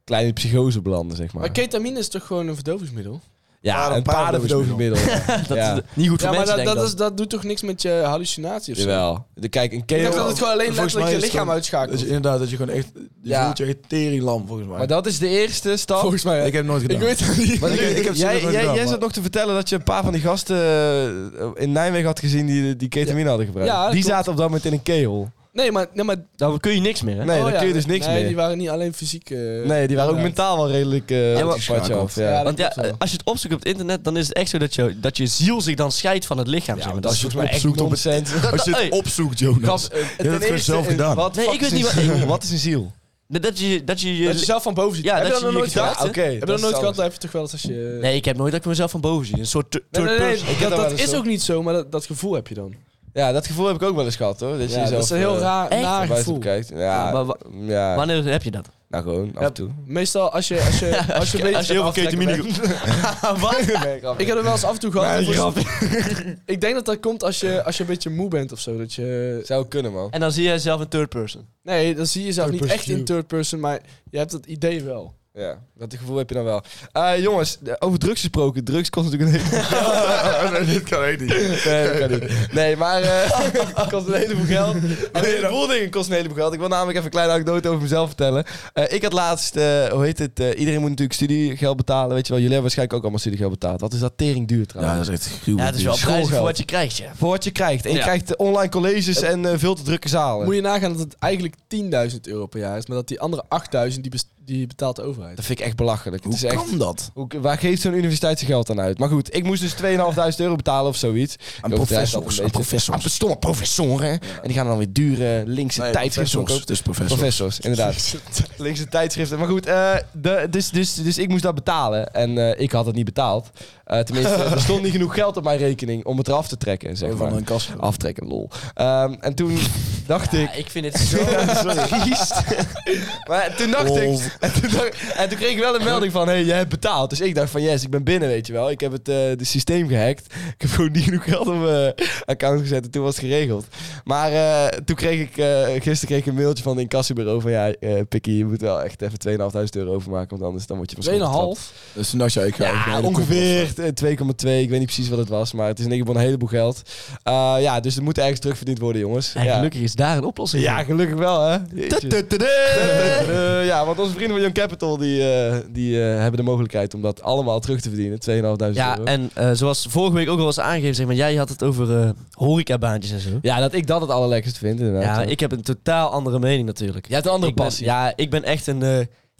S2: kleine psychose belanden, zeg maar.
S4: Maar ketamine is toch gewoon een verdovingsmiddel?
S2: ja,
S3: Paarden-
S2: een paardenverdovingsmiddel.
S5: dat
S2: Ja.
S5: is niet goed voor
S4: Ja, maar
S5: mensen,
S4: dat,
S5: denk
S4: dat,
S5: ik
S4: is, dat doet toch niks met je hallucinatie of zo?
S2: Jawel. De, kijk, een
S4: Ik
S2: kegel...
S4: dacht dat het gewoon alleen
S3: Volgens
S4: letterlijk
S3: mij
S4: je
S3: is het
S4: lichaam
S3: gewoon-
S4: uitschakelt.
S3: Dus inderdaad, dat je gewoon echt... Je
S2: Ja.
S3: voelt je echt teringlam, volgens mij.
S2: Maar dat is de eerste stap.
S4: Volgens mij.
S3: ik heb het nooit gedaan.
S4: Ik weet het niet.
S2: Maar
S3: Ik-
S2: ik,
S3: ik heb ze
S2: jij,
S3: nog nooit
S2: jij,
S3: gedaan,
S2: jij
S3: maar-
S2: zat nog te vertellen dat je een paar van die gasten eh, in Nijmegen had gezien die, die ketamine hadden gebruikt.
S4: Ja, dat
S2: die
S4: klopt. Eh,
S2: zaten op dat moment in een kegel.
S4: Nee, maar... Nee, maar
S5: Dan kun je niks meer, hè?
S2: Nee,
S4: oh
S2: dan
S4: ja,
S2: kun je dus niks
S4: nee,
S2: meer.
S4: die waren niet alleen fysiek... eh,
S2: nee, die waren ook
S4: ja.
S2: mentaal wel redelijk eh
S5: maar-
S2: op het padje af. Ja.
S4: Ja, dat
S5: Want ja,
S4: klopt wel.
S5: als je het opzoekt op het internet, dan is het echt zo dat je, dat je ziel zich dan scheidt van het lichaam. zeg maar. Dat is
S2: volgens
S5: volgens mij
S2: mij
S5: echt
S2: opzoekt op
S5: non-
S2: het centrum.
S5: Dat-
S3: Als je
S5: dat-
S3: het
S5: hey,
S3: opzoekt, Jonas.
S2: Gast, eh, ten
S3: gewoon
S2: eerste,
S3: zelf
S2: eh,
S3: gedaan.
S2: Wat,
S5: Nee,
S2: fuck
S5: ik weet
S2: is
S5: niet
S2: een
S5: wat-
S2: ziel? Wat is een ziel?
S5: dat je dat je, je
S4: Dat je zelf van boven zit.
S5: Ja,
S4: heb
S5: dat
S4: je
S5: je
S4: dat nog
S5: je
S4: nooit
S5: gedachten-
S4: gehad?
S2: Ja, oké. dus-
S4: Heb je dat nooit
S2: is anders.
S4: gehad? Dat heb je toch wel eens als je...
S5: Nee, ik heb nooit dat ik mezelf van boven zie. Een soort tu-
S4: Nee,
S5: third
S4: nee, nee,
S5: person.
S2: Ik heb
S4: dat,
S2: dat wel
S4: dat
S2: eens,
S4: is
S2: hoor.
S4: ook niet zo, maar dat, dat gevoel heb je dan.
S2: Ja, dat gevoel heb ik ook wel eens gehad hoor. Dat je
S4: Ja, dat
S2: jezelf,
S4: is een heel
S2: eh,
S4: raar,
S5: echt?
S4: naar
S2: van buiten
S4: gevoel.
S2: bekijkt.
S5: Ja,
S2: Ja,
S5: maar wa-
S2: ja,
S5: wanneer heb je dat?
S2: nou gewoon, af
S4: Ja,
S2: en toe.
S4: Meestal als je, als je, als je, weet-
S5: als je heel veel ketamine-
S4: Ik heb er wel eens af en toe gehad.
S2: Nee,
S4: dat was- ik denk dat dat komt als je, als je een beetje moe bent of zo. Dat je,
S2: Zou kunnen man.
S5: En dan zie jij zelf een third person.
S4: nee, dan zie je jezelf niet
S3: person
S4: echt in
S3: view.
S4: third person, maar je hebt dat idee wel.
S2: Ja, dat gevoel heb je dan wel. Eh, jongens, de- over drugs gesproken. Drugs kost natuurlijk een
S3: nee, dit kan echt niet.
S2: heleboel... Nee, dat kan niet. Nee, maar eh, het kost een heleboel geld. Een heleboel dingen kost een heleboel geld. Ik wil namelijk even een kleine anekdote over mezelf vertellen. Eh, ik had laatst, eh, hoe heet het, eh, iedereen moet natuurlijk studiegeld betalen. Weet je wel, jullie hebben waarschijnlijk ook allemaal studiegeld betaald. Wat is dat tering duur trouwens?
S3: Ja, dat is echt
S5: Ja,
S3: gruwelijk.
S5: het is wel
S2: schoolgeld.
S5: prijzig voor wat je krijgt, ja.
S2: Voor wat je krijgt. En je
S5: Ja.
S2: krijgt eh, online colleges en eh, veel te drukke zalen.
S4: Moet je nagaan dat het eigenlijk 10.000 euro per jaar is, maar dat die andere 8.000 die, bes- die betaalt de overheid.
S2: Dat vind ik echt belachelijk.
S3: Hoe
S2: het is echt,
S3: kan dat?
S2: Hoe- waar geeft zo'n universiteit zijn geld aan uit? Maar goed, ik moest dus 2.500 euro betalen of zoiets.
S3: Aan
S2: Ik overdrijf dat
S3: professors,
S2: een
S3: aan
S2: beetje.
S3: professors.
S2: Aan stomme professoren. En die gaan dan weer dure linkse
S3: Nee,
S2: tijdschriften
S3: professors.
S2: verkopen.
S3: Dus professors.
S2: Professors, inderdaad. linkse tijdschriften. Maar goed, eh, de, dus, dus, dus ik moest dat betalen. En eh, ik had het niet betaald. Eh, tenminste, er stond niet genoeg geld op mijn rekening om het eraf te trekken. Zeg maar. Ah.
S3: Van een kast.
S2: Aftrekken, lol. Ehm, en toen dacht ik...
S5: Ja, ik vind het zo...
S2: Maar toen dacht ik, En toen, dacht- en toen kreeg ik wel een melding van, hé, hey, jij hebt betaald. Dus ik dacht van, yes, ik ben binnen, weet je wel. Ik heb het eh, de systeem gehackt. Ik heb gewoon niet genoeg geld op mijn account gezet en toen was het geregeld. Maar eh, toen kreeg ik, eh, gisteren kreeg ik een mailtje van het incassobureau van, ja, eh Pikkie, je moet wel echt even 2.500 euro overmaken, want anders dan word je van school getrapt.
S4: 2,5.
S3: Dus toen dacht je, ik ga even
S2: Ja,
S3: naar de
S2: ongeveer eh, 2,2. Ik weet niet precies wat het was, maar het is in ieder geval een heleboel geld. Eh, ja, dus het moet ergens terugverdiend worden, jongens.
S5: En
S2: ja.
S5: gelukkig is daar een oplossing
S2: Ja,
S5: voor.
S2: gelukkig wel, hè? Jeetje. Eh, ja, want onze vrienden van Young Capital die, eh, die eh, hebben de mogelijkheid om dat allemaal terug te verdienen. 2.500
S5: Ja,
S2: euro.
S5: en eh, zoals vorige week ook al was aangegeven, zeg maar, jij had het over eh horecabaantjes en zo.
S2: ja, dat ik dat het allerlekkerst vind, inderdaad.
S5: Ja, ik heb een totaal andere mening natuurlijk.
S2: Jij hebt een andere
S5: Ik ben-
S2: passie.
S5: ja, ik ben echt een eh,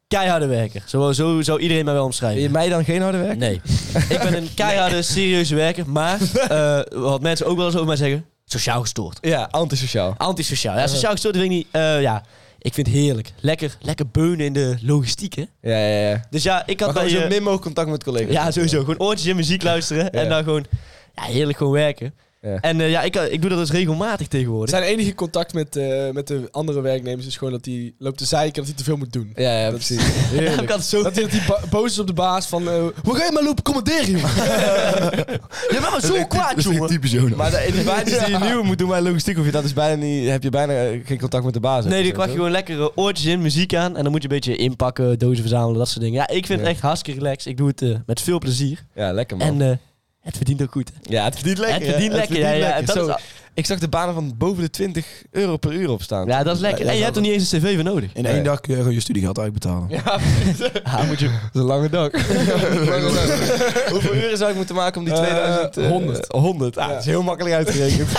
S5: keiharde werker. Zo, zo zou iedereen mij wel omschrijven.
S2: Je mij dan geen harde werk?
S5: Nee. ik ben een keiharde, serieuze werker. Maar eh, wat mensen ook wel eens over mij zeggen, sociaal gestoord.
S2: Ja, antisociaal.
S5: Antisociaal. Ja, sociaal gestoord weet ik niet. eh, ja, ik vind het heerlijk. Lekker, lekker beunen in de logistiek, hè.
S2: Ja, ja, ja.
S5: Dus ja, ik
S2: Maar
S5: had
S2: gewoon
S5: bij...
S2: zo
S5: eh,
S2: min mogelijk contact met collega's.
S5: ja, sowieso. Gewoon oortjes in muziek luisteren. En dan gewoon ja, heerlijk gewoon werken.
S2: Ja.
S5: En eh, ja, ik, ik doe dat dus regelmatig tegenwoordig.
S4: Zijn enige contact met, eh, met de andere werknemers is gewoon dat hij loopt te zeiken dat hij te veel moet doen.
S2: Ja, ja
S4: Dat is-
S2: precies. Heerlijk.
S5: ik had zo...
S4: Dat hij, dat hij ba- boos is op de baas van... eh, hoe ga je maar lopen commanderen, joh?
S5: Je bent maar zo kwaad, jongen.
S3: typisch Jonas.
S2: Maar de- in die baantjes die je nieuw moet doen bij logistiek, hoef je, dat is bijna niet, heb je bijna eh, geen contact met de baas. die
S5: Nee, dan kwam je gewoon lekker eh, oortjes in, muziek aan. En dan moet je een beetje inpakken, dozen verzamelen, dat soort dingen. Ja, ik vind
S2: Ja.
S5: het echt hartstikke relaxed. Ik doe het eh, met veel plezier.
S2: Ja, lekker man.
S5: En eh, het verdient ook goed. hè.
S2: ja, het verdient lekker.
S5: het verdient
S2: hè?
S5: lekker. ja, ja,
S2: lekker.
S5: Dat
S2: Zo,
S5: is,
S2: Ik zag de banen van boven de 20 euro per uur opstaan.
S5: ja, dat is lekker.
S3: Ja,
S5: en je
S3: ja,
S5: hebt er niet eens een cv voor nodig.
S3: In
S2: Nee.
S3: één dag kun je gewoon je studiegeld uitbetalen.
S5: Ja, moet je...
S2: Dat is een lange dag. Hoeveel uren zou ik moeten maken om die
S4: Eh,
S2: 2000... eh,
S4: 100.
S2: 100. Ah,
S4: Ja.
S2: dat is heel makkelijk uitgerekend.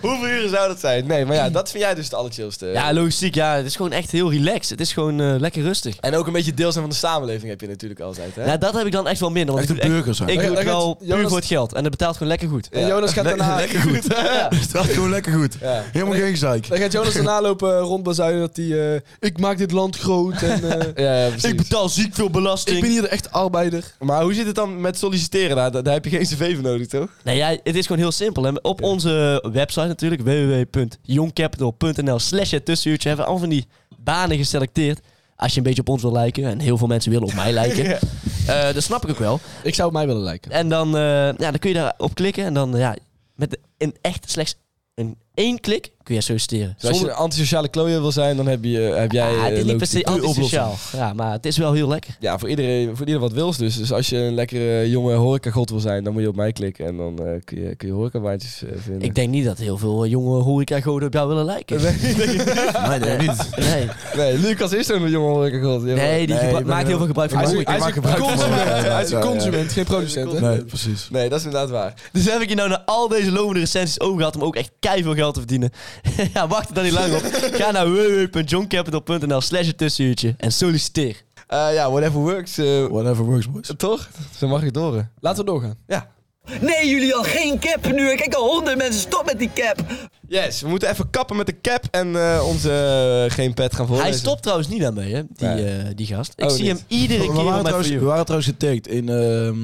S2: Hoeveel uren zou dat zijn? Nee, maar ja, dat vind jij dus het allerchillste.
S5: Ja, logistiek. Ja, het is gewoon echt heel relaxed. Het is gewoon eh, lekker rustig.
S2: En ook een beetje deel zijn van de samenleving heb je natuurlijk altijd, hè?
S5: Ja, dat heb ik dan echt wel minder. Want
S3: Echt
S5: ik
S3: een
S5: doe, het echt-
S3: burger zijn.
S5: ik doe
S4: Ja,
S5: het
S4: dat
S5: wel
S4: gaat-
S5: puur
S4: Jonas-
S5: voor het geld. En dat betaalt gewoon lekker goed.
S4: En Jonas gaat daarna...
S3: Lekker goed.
S2: Ja.
S3: Dat gewoon lekker goed.
S2: Ja.
S3: Helemaal geen gezeik.
S4: Dan gaat Jonas daarna lopen rondbazuinen dat hij... eh, ik maak dit land groot en... eh,
S2: Ja, ja, precies.
S5: Ik betaal ziek veel belasting.
S4: ik ben hier de echte arbeider.
S2: Maar hoe zit het dan met solliciteren? Daar, daar- daar heb je geen cv voor nodig, toch?
S5: Nou ja, het is gewoon heel simpel. Hè. Op onze website natuurlijk, www.youngcapital.nl slash het tussenuurtje, hebben we al van die banen geselecteerd. Als je een beetje op ons wil lijken, en heel veel mensen willen op mij lijken,
S2: Ja.
S5: Eh, dat snap ik ook wel.
S4: Ik zou op mij willen lijken.
S5: En dan, eh, ja, dan kun je daarop klikken en dan eh, ja, met de- in echt slechts een één klik kun je solliciteren.
S2: Dus als je
S5: Zonder-
S2: een antisociale klooier wil zijn, dan heb, je, heb jij...
S5: Ah,
S2: eh,
S5: het is niet per se
S2: logistiek.
S5: antisociaal. Ja, maar het is wel heel lekker.
S2: Ja, voor iedereen, voor ieder wat wils dus. Dus als je een lekkere jonge horecagod wil zijn, dan moet je op mij klikken. En dan eh, kun je, kun je horecabaantjes eh, vinden.
S5: Ik denk niet dat heel veel eh, jonge horeca-goden op jou willen lijken.
S3: Nee, nee, niet.
S5: Nee,
S2: Nee, Lucas is zo'n jonge horecagod. Ja,
S5: nee die
S3: Nee,
S5: gebru-
S3: ik ben
S5: maakt
S3: er-
S5: heel veel gebruik van
S4: Hij is,
S5: horeca.
S4: een- hij is
S3: maak
S4: een
S3: gebruik van-
S4: consument,
S3: Ja, ja,
S4: hij is een
S3: ja, ja.
S4: consument, geen producent. hè?
S3: Nee, precies.
S2: Nee, dat is inderdaad waar.
S5: Dus heb ik je nou naar al deze lovende recensies over gehad om ook echt keiveel geld te verdienen? ja, wacht er dan niet lang op. Ga naar www.johncapital.nl slash het tussenuurtje en solliciteer.
S2: Eh, ja, whatever works. eh,
S3: Whatever works, boys.
S2: toch? Zo mag ik doren.
S4: Laten we doorgaan.
S6: Nee, jullie al geen cap nu. Ik kijk al honderd mensen. Stop met die cap.
S2: Yes, we moeten even kappen met de cap en eh, onze eh, geen pet gaan voorlezen.
S5: Hij stopt trouwens niet daarmee, hè, die,
S2: Nee.
S5: eh, die gast. Ik
S2: Oh,
S5: zie
S2: niet.
S5: hem iedere
S3: We
S5: keer
S3: waren,
S5: op mijn
S3: trouwens, we
S5: video.
S3: waren trouwens getagd in, ehm,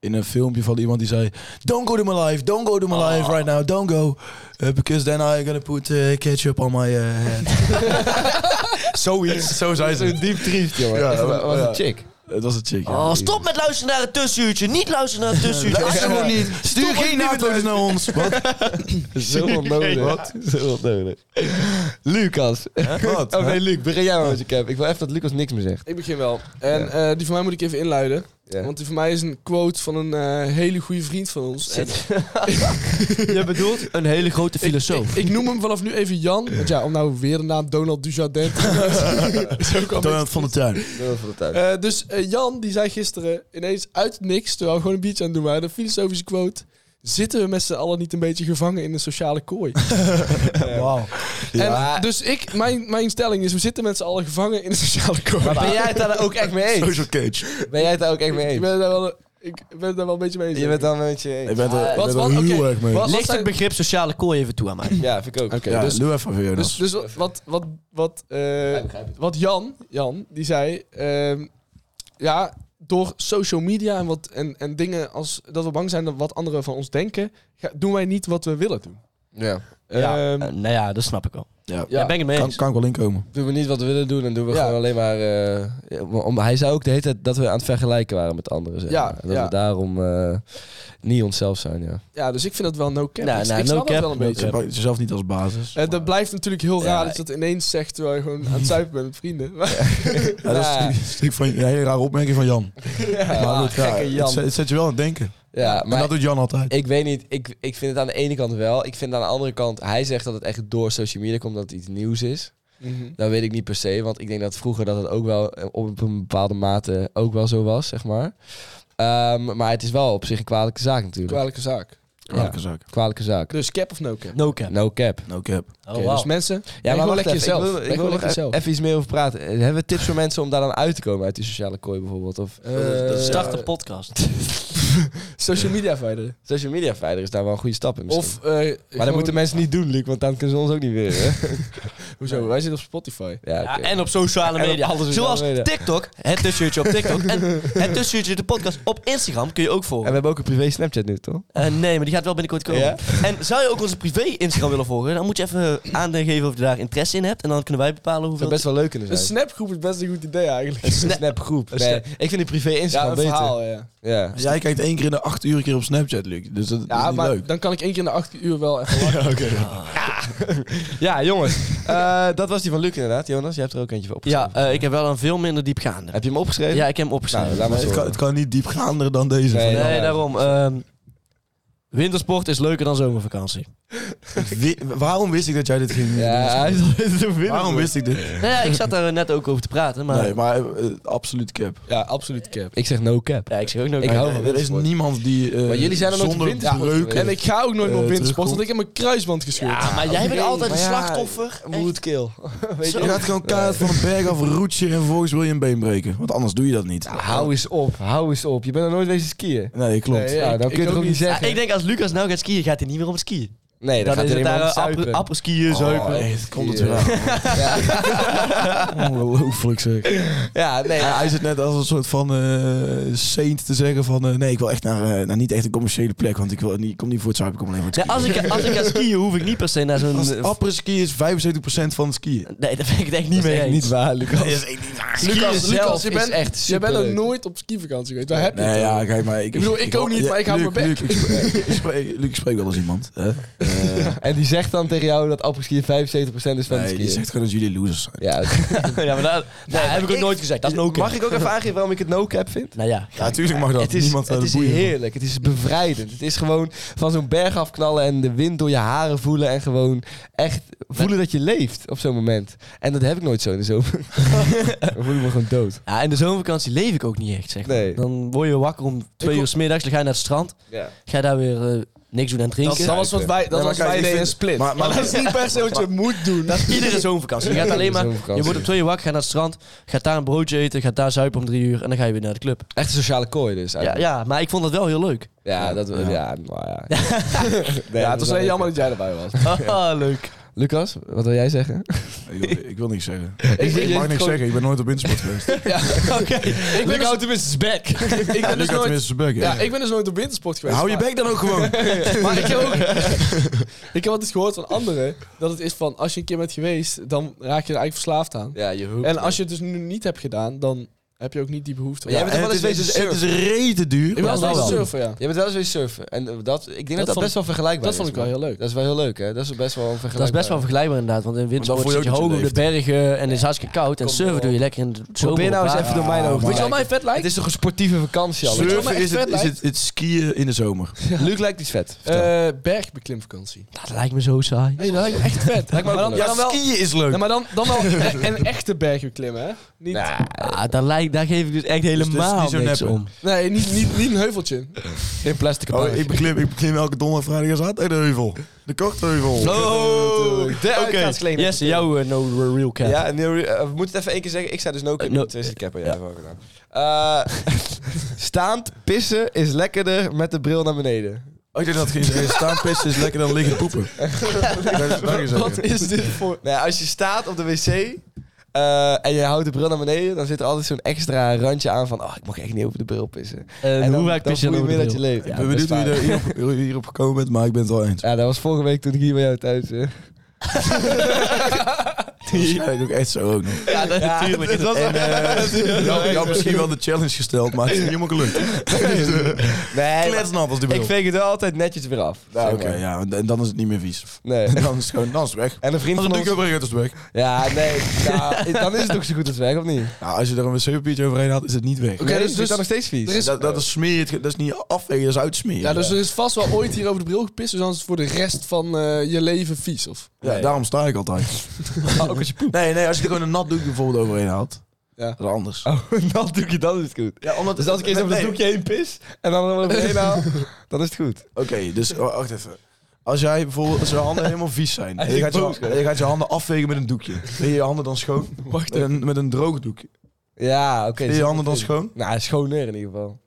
S3: in een filmpje van iemand die zei... Don't go to my life, don't go to my life right now, don't go. eh, because then I'm gonna put eh, ketchup on my eh, hand. Zoiets. Zo zei
S2: Zo'n diep trieft, jongen.
S3: Ja,
S2: Is dat-
S3: ja.
S2: was een chick.
S3: Dat was het chick, ja.
S5: Oh, stop met luisteren naar het tussenuurtje. Niet luisteren naar het tussenuurtje. Alsjeblieft.
S3: niet. Stuur geen naadloos naar ons. Wat?
S2: Zo onnodig. Wat? Zo onnodig. Lucas.
S3: Wat?
S2: Oh nee, Luc, begin jij maar met je cap. Ik wil even dat Lucas niks meer zegt.
S4: Ik begin wel. En eh, die van mij moet ik even inluiden.
S2: Ja.
S4: Want die van mij is een quote van een eh, hele goede vriend van ons. En
S5: Je bedoelt een hele grote filosoof.
S4: ik noem hem vanaf nu even Jan. Want ja, om nou weer de naam Donald Dujardin te noemen, is ook al
S3: Donald van de Tuin.
S2: Heel veel tijd.
S4: Eh, dus eh, Jan die zei gisteren ineens uit het niks, terwijl we gewoon een biertje aan het doen waren, een filosofische quote. Zitten we met z'n allen niet een beetje gevangen in een sociale kooi? Eh,
S3: Wauw.
S4: En dus ik, mijn, mijn stelling is, we zitten met z'n allen gevangen in een sociale kooi.
S2: Maar ben jij het daar ook echt mee eens?
S3: Social cage.
S2: Ben jij het daar ook echt mee
S4: ik,
S2: eens?
S4: ben daar wel, ik ben het daar wel een beetje mee eens.
S2: Je bent dan met je eens.
S3: Ik ben er, ik
S4: wat-
S3: ben er
S4: wat-
S3: heel
S4: oké,
S3: erg mee.
S4: wat-
S5: Ligt
S4: zijn-
S5: het begrip sociale kooi even toe aan mij.
S2: Ja, vind ik ook.
S4: Oké,
S3: ja,
S4: dus,
S3: doe even voor Jonas.
S4: dus, dus wat, wat, wat, wat, eh, wat Jan, Jan, die zei, ehm, ja, door social media en, wat, en, en dingen als dat we bang zijn dat wat anderen van ons denken, ga- doen wij niet wat we willen doen.
S2: Ja.
S5: ja,
S4: Ehm,
S5: eh, nou ja, dat snap ik wel.
S3: Ja.
S5: Ja, ben ik het mee
S3: Kan,
S5: eens.
S3: kan ik wel inkomen.
S2: Doen we niet wat we willen doen en doen we
S4: Ja.
S2: gewoon alleen maar... eh, ja, om, hij zei ook de hele tijd dat we aan het vergelijken waren met anderen. Zeg
S4: Ja,
S2: maar. Dat
S4: ja.
S2: we daarom eh, niet onszelf zijn, ja.
S4: Ja, dus ik vind dat wel no cap.
S5: Ja,
S4: ik,
S5: nou,
S4: ik snap
S5: no
S4: dat
S5: cap,
S4: wel een
S5: no
S4: beetje.
S5: cap.
S3: Gebruik jezelf niet als basis.
S4: Eh, dat blijft natuurlijk heel
S5: Ja,
S4: raar dat je dat ineens zegt terwijl je gewoon aan het zuipen bent met vrienden. Maar-
S3: Ja, dat is een stuk van, een hele rare opmerking van Jan. maar goed, ja,
S2: Ah, gekke Jan.
S3: Het, zet, het zet je wel aan het denken.
S2: Ja,
S3: en
S2: maar
S3: dat doet Jan altijd.
S2: ik weet niet. Ik, ik vind het aan de ene kant wel. Ik vind het aan de andere kant... Hij zegt dat het echt door social media komt dat het iets nieuws is.
S5: Mhm.
S2: Dat weet ik niet per se. Want ik denk dat vroeger dat het ook wel eh, op een bepaalde mate ook wel zo was, zeg maar. Ehm, maar het is wel op zich een kwalijke zaak natuurlijk.
S4: Kwalijke zaak.
S3: Welke zaak?
S2: kwalijke zaak.
S4: Dus cap of no cap?
S5: No cap.
S2: No cap.
S3: No cap.
S5: Oh,
S4: Oké,
S5: wauw.
S4: Dus mensen,
S2: Ja, maar
S4: gewoon
S2: wacht
S4: lekker
S2: even,
S4: jezelf.
S2: Ik wil, ik
S4: Blijf
S2: wil
S4: gewoon
S2: nog
S4: lekker jezelf.
S2: e- even iets meer over praten. Eh, Hebben we tips voor mensen om daar dan uit te komen uit die sociale kooi bijvoorbeeld? Of
S4: Eh,
S5: Start een podcast.
S4: social media verwijderen.
S2: social media verder is daar wel een goede stap in misschien.
S4: Of, eh,
S2: maar dat moeten mensen niet doen, Luc, want dan kunnen ze ons ook niet weer. Hè?
S4: Hoezo? Wij zitten op Spotify.
S2: Ja,
S5: Ja,
S2: oké.
S5: en op sociale
S2: En op
S5: media.
S2: alle sociale
S5: Zoals
S2: media.
S5: TikTok, het tussenuurtje op TikTok. en het tussenuurtje de podcast op Instagram kun je ook
S2: En
S5: volgen.
S2: we hebben ook een privé Snapchat nu, toch?
S5: Eh, nee, maar die gaat wel binnenkort komen.
S2: Ja?
S5: En zou je ook onze privé Instagram willen volgen? Dan moet je even aangeven of je daar interesse in hebt. En dan kunnen wij bepalen
S2: Dat zou
S5: hoeveel...
S2: best wel leuk kunnen
S4: Een
S2: zijn.
S4: snapgroep is best een goed idee eigenlijk.
S2: Een snapgroep. Nee,
S5: snap-
S2: ik vind die privé
S4: Ja,
S2: Instagram
S4: een
S2: beter.
S4: verhaal, ja.
S2: Ja.
S3: Jij kijkt één keer in de acht uur een keer op Snapchat, Luc. Dus dat
S4: Ja,
S3: is niet
S4: maar
S3: leuk.
S4: dan kan ik één keer in de acht uur wel echt...
S3: Ja, oké.
S2: ja, jongens. Eh, dat was die van Luc inderdaad. Jonas, jij hebt er ook eentje van opgeschreven.
S5: Ja, eh, ik heb wel een veel minder diepgaande.
S2: Heb je hem opgeschreven?
S5: Ja, ik heb hem
S2: Nou,
S5: opgeschreven.
S2: laat maar
S3: Maar
S2: zo.
S3: het, kan, het kan niet diepgaander dan deze.
S2: Nee,
S5: nee,
S2: ja.
S5: daarom. ehm, wintersport is leuker dan zomervakantie.
S3: Wi- waarom wist ik dat jij dit ging
S2: Ja, hij is al te
S3: doen?
S2: winnen.
S3: Waarom wist ik dit?
S5: Nou ja, ik zat daar net ook over te praten, maar...
S3: Nee, maar eh, absoluut cap.
S4: Ja, absoluut cap.
S2: Ik zeg no cap.
S5: Ja, ik zeg ook nog...
S2: Ik hou van
S3: er is
S2: wintersport.
S3: niemand die eh,
S2: Maar jullie zijn er nooit op
S3: zonder
S2: wintersport
S3: breuken-
S4: En ik ga ook nooit meer op
S3: Eh, terugkomt.
S4: wintersport, want ik heb mijn kruisband gescheurd.
S5: Ja, maar jij bent
S2: Nee,
S5: altijd een
S2: maar ja,
S5: slachtoffer.
S2: Moedkill. Weet
S3: Je
S2: je?
S3: gaat gewoon kaart van een berg af roetje en vervolgens wil je een been breken. Want anders doe je dat niet.
S2: Hou eens op, hou eens op. Je bent er nooit wezen skiën.
S3: Nee, klopt.
S4: Nee,
S2: nou,
S4: ik-
S2: dan
S4: ik
S2: kun je
S4: ook
S2: toch ook niet
S4: niet.
S5: Ja,
S2: zeggen.
S5: ik denk als Lucas nou gaat skiën, gaat hij niet meer om het skiën.
S2: nee,
S5: Dan,
S2: gaat
S5: is het
S2: helemaal
S5: daar eh,
S2: niet zuipen.
S5: appel skiën, zuipen.
S3: Oh, echt, komt het weer aan. Ongelooflijk zeg.
S2: Ja, nee.
S3: Hij- hij zit net als een soort van eh, saint te zeggen van... eh, nee, ik wil echt naar, eh, naar niet echt een commerciële plek. Want ik, wil niet, ik kom niet voor het zuipen, ik kom alleen voor het
S5: Nee, als, ik, als ik ga skiën, hoef ik niet per se naar zo'n... eh,
S3: skiën. Als ski is 75% van het skiën.
S5: Nee, dat ben ik het echt niet
S2: dat is
S5: mee
S2: echt
S5: eens.
S2: niet waar, Lucas.
S3: is echt niet waar.
S5: Skiën
S4: Lucas,
S5: zelf
S4: Lucas, je
S5: is
S4: bent,
S5: echt
S4: je bent nog
S5: superleuk.
S4: nooit op skivakantie geweest. Waar heb je
S3: Nee,
S4: het
S3: ja,
S4: over?
S3: kijk, maar ik...
S4: bedoel, ik ook niet, maar ik hou
S3: Luc,
S4: mijn bek.
S3: Luc, ik spreek- ik spreek- Luc, ik spreek wel als iemand. Hè? Eh,
S2: En die zegt dan tegen jou dat appelskiën 75% is van het
S3: nee,
S2: skiën.
S3: die zegt gewoon dat jullie losers zijn.
S2: Ja,
S5: ja, maar dat, dat heb ik ook nooit gezegd. Dat is no
S2: Nou, Mag ik ook even aangeven waarom ik het no-cap vind?
S5: Nou ja,
S3: Ja, natuurlijk mag dat.
S2: Het is,
S3: Niemand
S2: het is heerlijk, het is bevrijdend. Het is gewoon van zo'n berg afknallen en de wind door je haren voelen. En gewoon echt voelen dat je leeft op zo'n moment. En dat heb ik nooit zo in de zomer. Dan voel ik me gewoon dood.
S5: ja, in de zomervakantie leef ik ook niet echt, zeg maar.
S2: Nee.
S5: Dan word je wakker om twee uur smiddags, dan ga je naar het strand. Ga je daar weer eh, niks doen en
S4: Dat,
S5: drinken.
S4: dat was wat wij, dat was
S3: kijk,
S4: wij
S3: ik
S4: deden in
S3: vind-
S4: Split.
S3: maar- maar-
S4: Maar dat is niet per se wat je moet doen.
S5: Dat is iedere zomervakantie. Je gaat alleen maar... Je wordt op twee uur wakker, gaat naar het strand, gaat daar een broodje eten, gaat daar zuipen om drie uur en dan ga je weer naar de club.
S2: Echt een sociale kooi dus
S5: Ja,
S2: eigenlijk.
S5: ja maar ik vond dat wel heel leuk.
S2: Ja, dat... Ja, nou ja. Nee,
S4: Ja, het
S2: dat
S4: was alleen jammer dat jij erbij was.
S5: Ah, leuk.
S2: Lucas, wat wil jij zeggen?
S3: Ik, wil- ik wil niks zeggen.
S2: Ik,
S3: Ik mag niks zeggen, ik ben nooit op wintersport geweest.
S4: Ik ben dus,
S5: tenminste back.
S4: ik
S3: Luc
S4: ben dus
S3: had
S4: nooit...
S3: tenminste zijn bek, hè?
S4: Ja, ik ben dus nooit op wintersport geweest.
S3: Hou je
S4: maar-
S3: bek dan ook gewoon.
S4: Maar ik heb ook... ik heb altijd gehoord van anderen dat het is van... Als je een keer bent geweest, dan raak je er eigenlijk verslaafd aan.
S2: Ja, je hoek.
S4: En als je het dus nu niet hebt gedaan, dan heb je ook niet die behoefte.
S2: Maar jij bent
S3: En
S2: toch wel
S3: het,
S2: eens
S3: is,
S2: wezen
S3: het is- het is rete duur.
S4: ik ben
S2: Ja,
S4: altijd
S2: dat
S4: aan
S2: wel.
S4: surfen, ja.
S2: Je bent wel eens weer surfen. En eh, dat, ik denk
S5: Dat
S2: dat dat
S5: vond
S2: best wel vergelijkbaar
S4: Dat
S2: is.
S4: vond ik wel
S2: man.
S4: heel leuk.
S2: Dat is wel heel leuk, hè? Dat is best wel vergelijkbaar.
S5: Dat is best wel vergelijkbaar inderdaad, want in wintersport
S3: voel je
S5: zit je
S3: ook dat
S5: hoog
S3: je
S5: op de bergen en het is hartstikke koud. En
S2: Kom
S5: surfen
S2: op.
S5: doe je lekker in de zomer.
S2: Probeer nou
S5: op
S2: eens
S5: water. Ah,
S2: even door mijn ogen.
S3: Weet
S4: Weet
S2: te
S4: je wat mij
S2: kijken.
S4: vet lijkt?
S2: Het is toch een sportieve vakantie al?
S4: Surfen
S3: Surfen
S4: maar
S3: is,
S4: echt
S3: het,
S4: vet
S3: is het, het skiën in de zomer.
S2: Luc lijkt iets vet.
S4: Eh, bergbeklimvakantie.
S5: Dat lijkt me zo saai.
S4: Nee, dat lijkt me echt
S2: Lijkt
S4: vet.
S2: me ook
S4: maar dan,
S2: leuk.
S4: maar dan wel,
S3: skiën is leuk.
S4: nee, maar dan, dan wel e- een echte bergbeklimmen, hè? Niet,
S5: Ah, daar, lijkt, daar geef ik dus echt
S3: dit is
S5: helemaal
S3: niet zo
S5: niks
S3: nep, hè?
S5: om.
S4: Nee, niet, niet, niet een heuveltje.
S2: in plastic
S3: Oh, ik beklim, ik beklim elke donderdag, vrijdag en zaterdag de heuvel. De kortheuvel.
S2: Oh, de
S5: Oké,
S2: uitgaanskleden.
S5: Jesse, jouw eh, no real cap.
S2: Ja, en nu, eh, we moeten het even één keer zeggen. Ik zei dus no cap.
S5: Eh, no-
S2: het is de capper. Ja, dat heb ik ook gedaan. Eh, staand pissen is lekkerder met de bril naar beneden.
S3: Oh, ik denk dat geen staan pissen is lekker dan liggen poepen. Dat is- dat is het.
S2: Nou
S4: Wat is dit voor...
S2: Nee, als je staat op de wc Eh, en je houdt de bril naar beneden, dan zit er altijd zo'n extra randje aan van... Oh, ik mag echt niet over de bril pissen.
S5: En,
S2: dan,
S5: Eh, hoe nou vaak
S2: dan
S5: pis je
S2: voel
S5: dan
S2: je
S5: over
S2: meer dat
S5: de
S2: je
S5: bril?
S2: leeft.
S3: ik ben benieuwd hoe
S2: best
S3: je er
S2: waar.
S3: hierop, hier- hierop gekomen bent, maar ik ben het wel eens.
S2: Ja, dat was vorige week toen ik hier bij jou thuis... eh,
S3: Waarschijnlijk ook echt zo ook nog.
S5: Ja, dat- natuurlijk.
S2: dat was-
S5: En, eh,
S3: Je had, je had misschien wel de challenge gesteld, maar het is niet helemaal gelukt.
S2: nee, maar
S3: Kletsnap als de bril.
S2: ik veeg het wel altijd netjes weer af.
S3: Ja,
S2: zeg
S3: Nou, Oké,
S2: maar.
S3: ja, en dan is het niet meer vies.
S2: Nee.
S3: Dan is het gewoon, dan is het weg.
S2: En een vriend
S3: Als
S2: van
S3: het
S2: ons...
S3: dik overheen is het weg.
S2: Ja, nee. nou, dan is het ook zo goed als weg, of niet?
S3: Nou, als je er een wc-papiertje overheen had, is het niet weg.
S4: Oké,
S2: Nee,
S4: dus-
S2: dus,
S4: dus-
S2: dat nog steeds vies.
S4: er is-
S3: Dat, dat is smeert, dat is niet afwegen, dat is uitsmeren.
S4: Ja, dus er is vast wel ooit hier over de bril gepist, dus dan is het voor de rest van eh, je leven vies. Of?
S3: Ja, daarom sta ik altijd.
S2: ook als je poep.
S3: Nee, nee, als je er gewoon een nat doekje bijvoorbeeld overheen haalt,
S4: Ja.
S3: dat is anders.
S2: Oh, dat doekje, dan is het goed.
S3: Ja, omdat,
S2: Dus als ik eerst over dat
S3: nee.
S2: doekje heen pis en dan overheen haal, dan is het goed.
S3: Oké, dus wa- wacht even. Als jij bijvoorbeeld, als je handen helemaal vies zijn, en je
S2: is
S3: gaat je,
S2: boos, hè?
S3: je gaat je handen afvegen met een doekje. Wil je je handen dan schoon? Met een, met een droog doekje.
S2: Ja, oké.
S3: Wil je je handen dan schoon?
S2: Nou, schoner in ieder geval.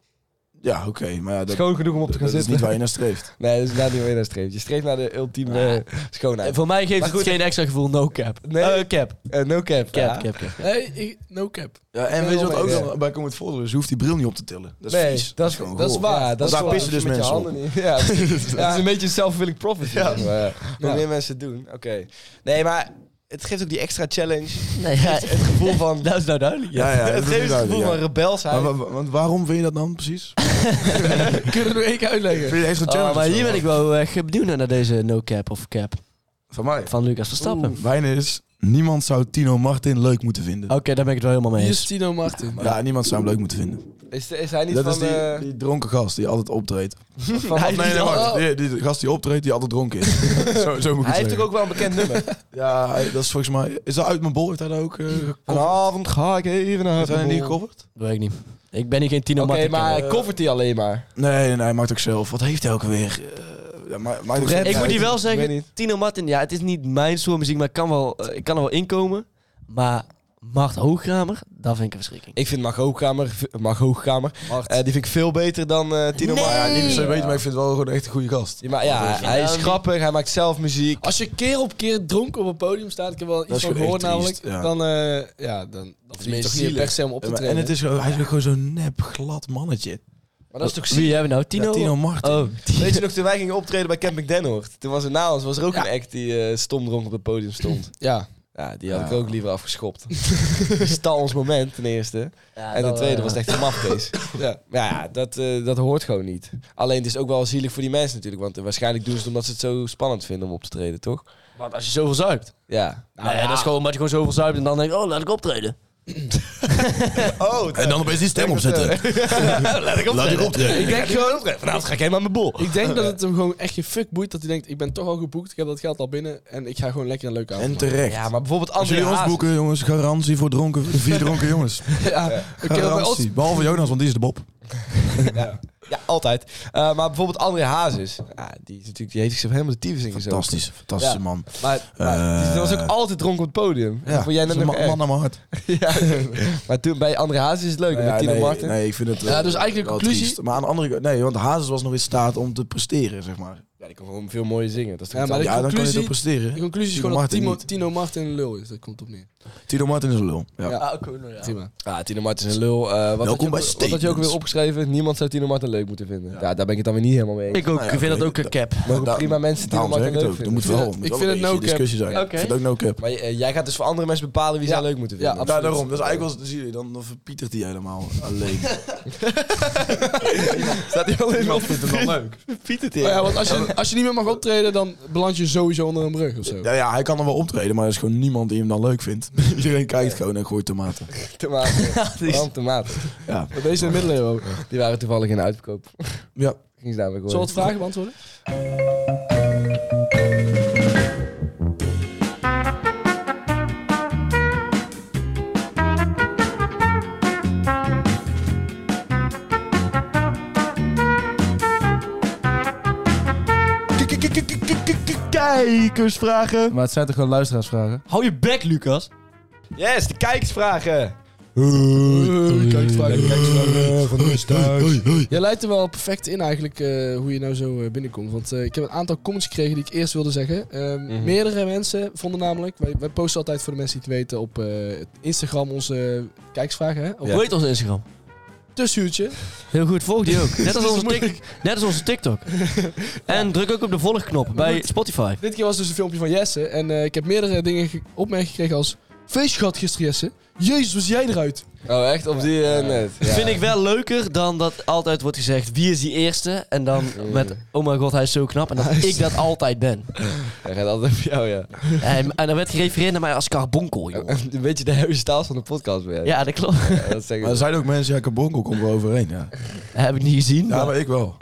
S3: Ja, oké, maar ja, dat,
S2: Schoon genoeg om op te gaan
S3: dat is
S2: zitten.
S3: niet waar je naar streeft.
S2: Nee, dat is inderdaad niet waar je naar streeft. Je streeft naar de ultieme eh, schoonheid.
S5: Voor mij geeft
S2: Maar
S5: het
S2: goed,
S5: geen extra gevoel, no cap.
S2: Nee.
S5: Eh, cap.
S2: Eh, no cap.
S5: Cap,
S2: ja.
S5: cap, cap.
S4: Nee, ik- no cap.
S3: Ja, en
S2: ben
S3: weet je wat
S2: wel
S3: ook
S2: mee,
S3: nog bij komt voordeel is? Je hoeft die bril niet op te tillen. Dat is
S2: Nee,
S3: vies.
S2: dat is,
S3: gewoon
S2: dat is
S3: goor.
S2: waar.
S3: Ja,
S2: dat
S3: daar
S2: is waar.
S3: pissen dus
S2: Met je
S3: mensen op.
S2: handen niet. Ja, precies. Dat is een beetje een self-fulfilling prophecy. Ja. Zeg maar. ja. Hoe meer mensen het doen. Oké. Nee, maar het geeft ook die extra challenge.
S5: Nee, ja,
S2: Het gevoel van...
S5: dat is nou duidelijk.
S3: Ja, ja, dat
S2: het
S3: is
S2: geeft het
S3: duidelijk,
S2: gevoel
S3: ja.
S2: van rebelsheid.
S3: Maar wa- wa- want waarom vind je dat dan precies?
S4: Kunnen we nog één keer uitleggen?
S3: Vind je extra
S2: Ah,
S5: Oh,
S3: challenge?
S5: maar
S3: of
S5: hier
S3: zo?
S5: ben ik wel echt benieuwd naar, naar deze no cap of cap
S3: Van mij.
S5: van Lucas Verstappen. Oké,
S3: Mijn is, niemand zou Tino Martin leuk moeten vinden.
S5: daar ben ik het wel helemaal mee
S4: Hier
S5: eens.
S4: is Tino Martin.
S3: Ja, niemand zou hem leuk moeten vinden.
S2: Is, is hij Oh. niet
S3: Dat
S2: van...
S3: is die,
S2: eh,
S3: die dronken gast die altijd optreedt.
S2: van
S3: Of nee, nee,
S2: Oh,
S3: wacht. Die, die gast die optreedt, die altijd dronken is. zo, zo moet ik
S2: Hij
S3: het
S2: heeft
S3: zeggen.
S2: toch ook wel een bekend nummer?
S3: Ja, hij- dat is volgens mij... Is dat uit mijn bol? Heeft hij dat ook eh gekofferd?
S2: Vanavond ga ik even naar
S3: Heeft hij dat niet gekofferd?
S5: Dat weet ik niet. Ik ben hier geen Tino
S2: Oké,
S5: Martin.
S2: maar eh,
S5: kenner.
S2: koffert hij alleen maar?
S3: Nee, nee, nee, hij maakt ook zelf. Wat heeft hij ook alweer? Eh ja, maar, maar
S2: Tourette.
S5: ik moet hier wel
S2: Ik
S5: zeggen,
S2: weet niet.
S5: Tino Martin, ja, het is niet mijn soort muziek, maar ik kan, wel, eh, ik kan er wel inkomen. Maar Mart Hoogkamer, dat vind ik een verschrikking.
S2: Ik vind Mag Hoogkamer, Mag Hoogkamer eh, die vind ik veel beter dan eh, Tino
S5: Nee!
S2: Maya.
S3: Ja, niet per se weten, maar ik vind het wel gewoon echt een goede gast.
S2: Ja, maar ja, hij is grappig, hij maakt zelf muziek.
S4: Als je keer op keer dronken op een podium staat, ik heb wel
S3: Dat
S4: iets
S3: is
S4: van
S3: gewoon
S4: gehoord
S3: echt
S4: namelijk,
S3: triest, ja.
S4: dan, eh, ja, dan, dan vind je
S2: meer
S4: toch niet
S2: zielig.
S4: per se om op te
S3: Ja, maar-
S4: trainen.
S3: en het is, gewoon- hij is ook gewoon zo'n nep, glad mannetje.
S4: maar dat is toch
S5: Wie
S4: zielig?
S5: hebben we nou? Tino?
S3: Ja, Tino Martin.
S5: Oh,
S2: Weet je nog, toen wij gingen optreden bij Camping Denhoort, toen was er na ons was er ook een act die eh, stom dronk op het podium stond.
S4: Ja.
S2: Ja, die had ik
S3: Ja.
S2: ook liever afgeschopt. Die Stal ons moment, ten eerste.
S5: Ja,
S2: en ten
S5: dat,
S2: tweede
S5: eh,
S2: was het echt een mafcase. ja. Maar ja, dat, eh, dat hoort gewoon niet. Alleen het is ook wel zielig voor die mensen natuurlijk, want eh, waarschijnlijk doen ze het omdat ze het zo spannend vinden om op te treden, toch?
S5: Want als je zoveel zuipt.
S2: Ja.
S5: Nou, ja, dat is gewoon omdat je gewoon zoveel zuipt en dan denk ik, oh, laat ik optreden.
S2: Oh,
S3: En dan opeens die stem opzetten.
S2: laat ik
S3: Laat ik optreden.
S2: Ik denk gewoon optreden. Vanavond ga ik helemaal aan mijn bol.
S4: Ik denk dat het hem gewoon echt geen fuck boeit dat hij denkt, ik ben toch al geboekt, ik heb dat geld al binnen en ik ga gewoon lekker een leuke avond
S3: En
S4: maken.
S3: terecht.
S2: Ja, maar bijvoorbeeld
S3: Als jullie
S2: André
S3: ons
S2: Hazes.
S3: boeken, jongens, garantie voor dronken, vier dronken jongens.
S4: Ja, oké, maar als-
S3: Garantie. Behalve Jonas, want die is de Bob.
S2: Ja, ja altijd. Eh, maar bijvoorbeeld André Hazes. Ja, die, is natuurlijk, die heeft zichzelf helemaal de tyfus ingezogen.
S3: Fantastisch, fantastische
S2: Ja.
S3: man.
S2: Maar, maar
S3: Eh,
S2: die was ook altijd dronken op het podium. Ja,
S3: Ja,
S2: vond jij
S3: dat
S2: net
S3: is een
S2: nog
S3: ma-
S2: erg.
S3: man naar mijn hart.
S2: Ja. Maar toen, bij André Hazes is het leuk. en met Tino
S3: nee,
S2: Martin.
S3: nee, ik vind het eh,
S4: Ja, dus eigenlijk
S3: wel
S4: conclusie-
S3: triest. Maar aan de andere kant, nee, want Hazes was nog in staat om te presteren, zeg maar.
S2: Ja, die kon gewoon veel mooier zingen. Dat is toch
S4: Ja,
S2: iets
S4: maar
S2: anders.
S3: ja, dan kan je
S4: conclusie-
S3: toch presteren.
S4: de conclusie is
S3: Tino
S4: gewoon dat
S3: Martin
S4: Timo,
S3: niet.
S4: Tino Martin een lul is, dat komt op neer.
S3: Tino Martin is een lul. Ja.
S4: Ja.
S5: Ah, oké, nou ja.
S4: Prima.
S2: Ja, Tino Martin is een lul. Eh, wat, had
S3: Welkom
S2: je,
S3: bij
S2: ook- wat had je ook
S3: Statements.
S2: weer opgeschreven? Niemand zou Tino Martin leuk moeten vinden. Ja, daar ben ik het dan weer niet helemaal mee eens.
S5: Ik ook,
S3: Nou ja,
S5: ik vind dat
S3: oké.
S5: ook een cap.
S2: Mogen
S3: Da-
S2: prima mensen Tino
S3: Daarom zeg
S2: Martin
S3: ik het
S2: leuk
S3: ook. Er
S2: vinden.
S3: moet wel, er moet
S4: Ik
S3: wel
S4: vind
S3: een
S4: het no
S3: beetje discussie zijn.
S5: Oké.
S3: Ik vind het ook no cap.
S2: Maar eh, jij gaat dus voor andere mensen bepalen wie
S4: Ja.
S2: zij leuk moeten
S4: Ja,
S2: vinden.
S4: absoluut.
S3: Ja, daarom. Dat is eigenlijk wel, dan zie je, dan, dan verpietert hij helemaal alleen.
S2: Staat hij alleen maar vindt hem wel leuk. Pieter
S4: Maar Oh ja, want als je, als je niet meer mag optreden, dan beland je sowieso onder een brug of zo.
S3: ja, ja, hij kan er wel optreden, maar er is gewoon niemand die hem dan leuk vindt. Iedereen kijkt gewoon en gooit tomaten.
S2: Tomaten. Waarom tomaten?
S3: Ja,
S4: Bij Deze in de middeleeuwen ook.
S2: Die waren toevallig in de uitverkoop.
S3: ja.
S2: Ging ze namelijk horen.
S4: Zullen we wat vragen beantwoorden?
S2: Kijkersvragen.
S7: Maar het zijn toch gewoon luisteraarsvragen?
S5: Hou je bek, Lucas.
S2: Yes, de kijkersvragen.
S4: Hey, kijk, vraag, kijk, vraag.
S3: Van ons thuis.
S4: Jij leidt er wel perfect in eigenlijk eh, hoe je nou zo eh, binnenkomt. Want eh, ik heb een aantal comments gekregen die ik eerst wilde zeggen. Ehm,
S2: Mhm.
S4: Meerdere mensen vonden namelijk, wij, wij posten altijd voor de mensen die het weten op eh, Instagram onze eh, kijksvragen. Hè? Op
S5: Hoe heet ons Instagram?
S4: tussenuurtje.
S5: Heel goed, volg die ook. Net als
S4: is
S5: onze, tik- net als onze TikTok. En druk ook op de volgknop bij Spotify.
S4: Dit keer was dus een filmpje van Jesse. En eh, ik heb meerdere dingen ge- opmerkingen gekregen als... Feestje gehad gisteren, Jesse. Jezus, was jij eruit?
S2: Oh, echt? Op die eh, net? Ja.
S5: Vind ik wel leuker dan dat altijd wordt gezegd wie is die eerste. En dan met oh mijn god hij is zo knap. En dat ik dat altijd ben.
S2: Hij gaat altijd op jou, ja.
S5: En, en dan werd gerefereerd naar mij als carbonkel, joh.
S2: Een beetje de Harry Styles van de podcast ben jij.
S5: Ja, dat klopt.
S2: Ja, dat zeg ik.
S3: Maar er zijn ook mensen, ja, Kabonko komt wel overheen, ja.
S5: Dat heb ik niet gezien.
S3: Ja,
S5: maar-
S3: maar ik wel.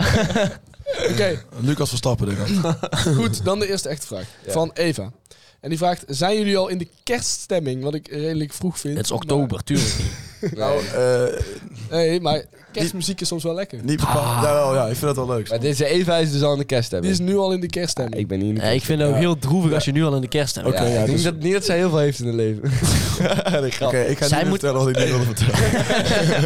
S4: Oké,
S3: Lucas Verstappen, denk ik.
S4: goed. Dan de eerste echte vraag.
S2: Ja.
S4: Van Eva. En die vraagt, zijn jullie al in de kerststemming? Wat ik redelijk vroeg vind.
S5: Het is oktober, tuurlijk niet.
S2: Nou,
S3: Eh,
S4: Maar- Nee, maar kerstmuziek is soms wel lekker.
S3: niet bepaald. Jawel, ja, ik vind dat wel leuk.
S2: maar deze Eva is dus al in de kerst
S4: Die
S2: hebben.
S4: is nu al in de kerststemming.
S2: Ik ben niet in de
S5: Nee, Eh, ik vind het ook heel droevig als je nu al in de kerst bent.
S2: Ja,
S3: Oké, ja,
S2: ik denk
S3: dus-
S2: dat, niet dat zij heel veel heeft in het leven. nee, grap.
S3: Oké, ik ga
S5: Zij
S3: niet meer vertellen
S5: moet-
S3: wat ik niet wilde vertellen.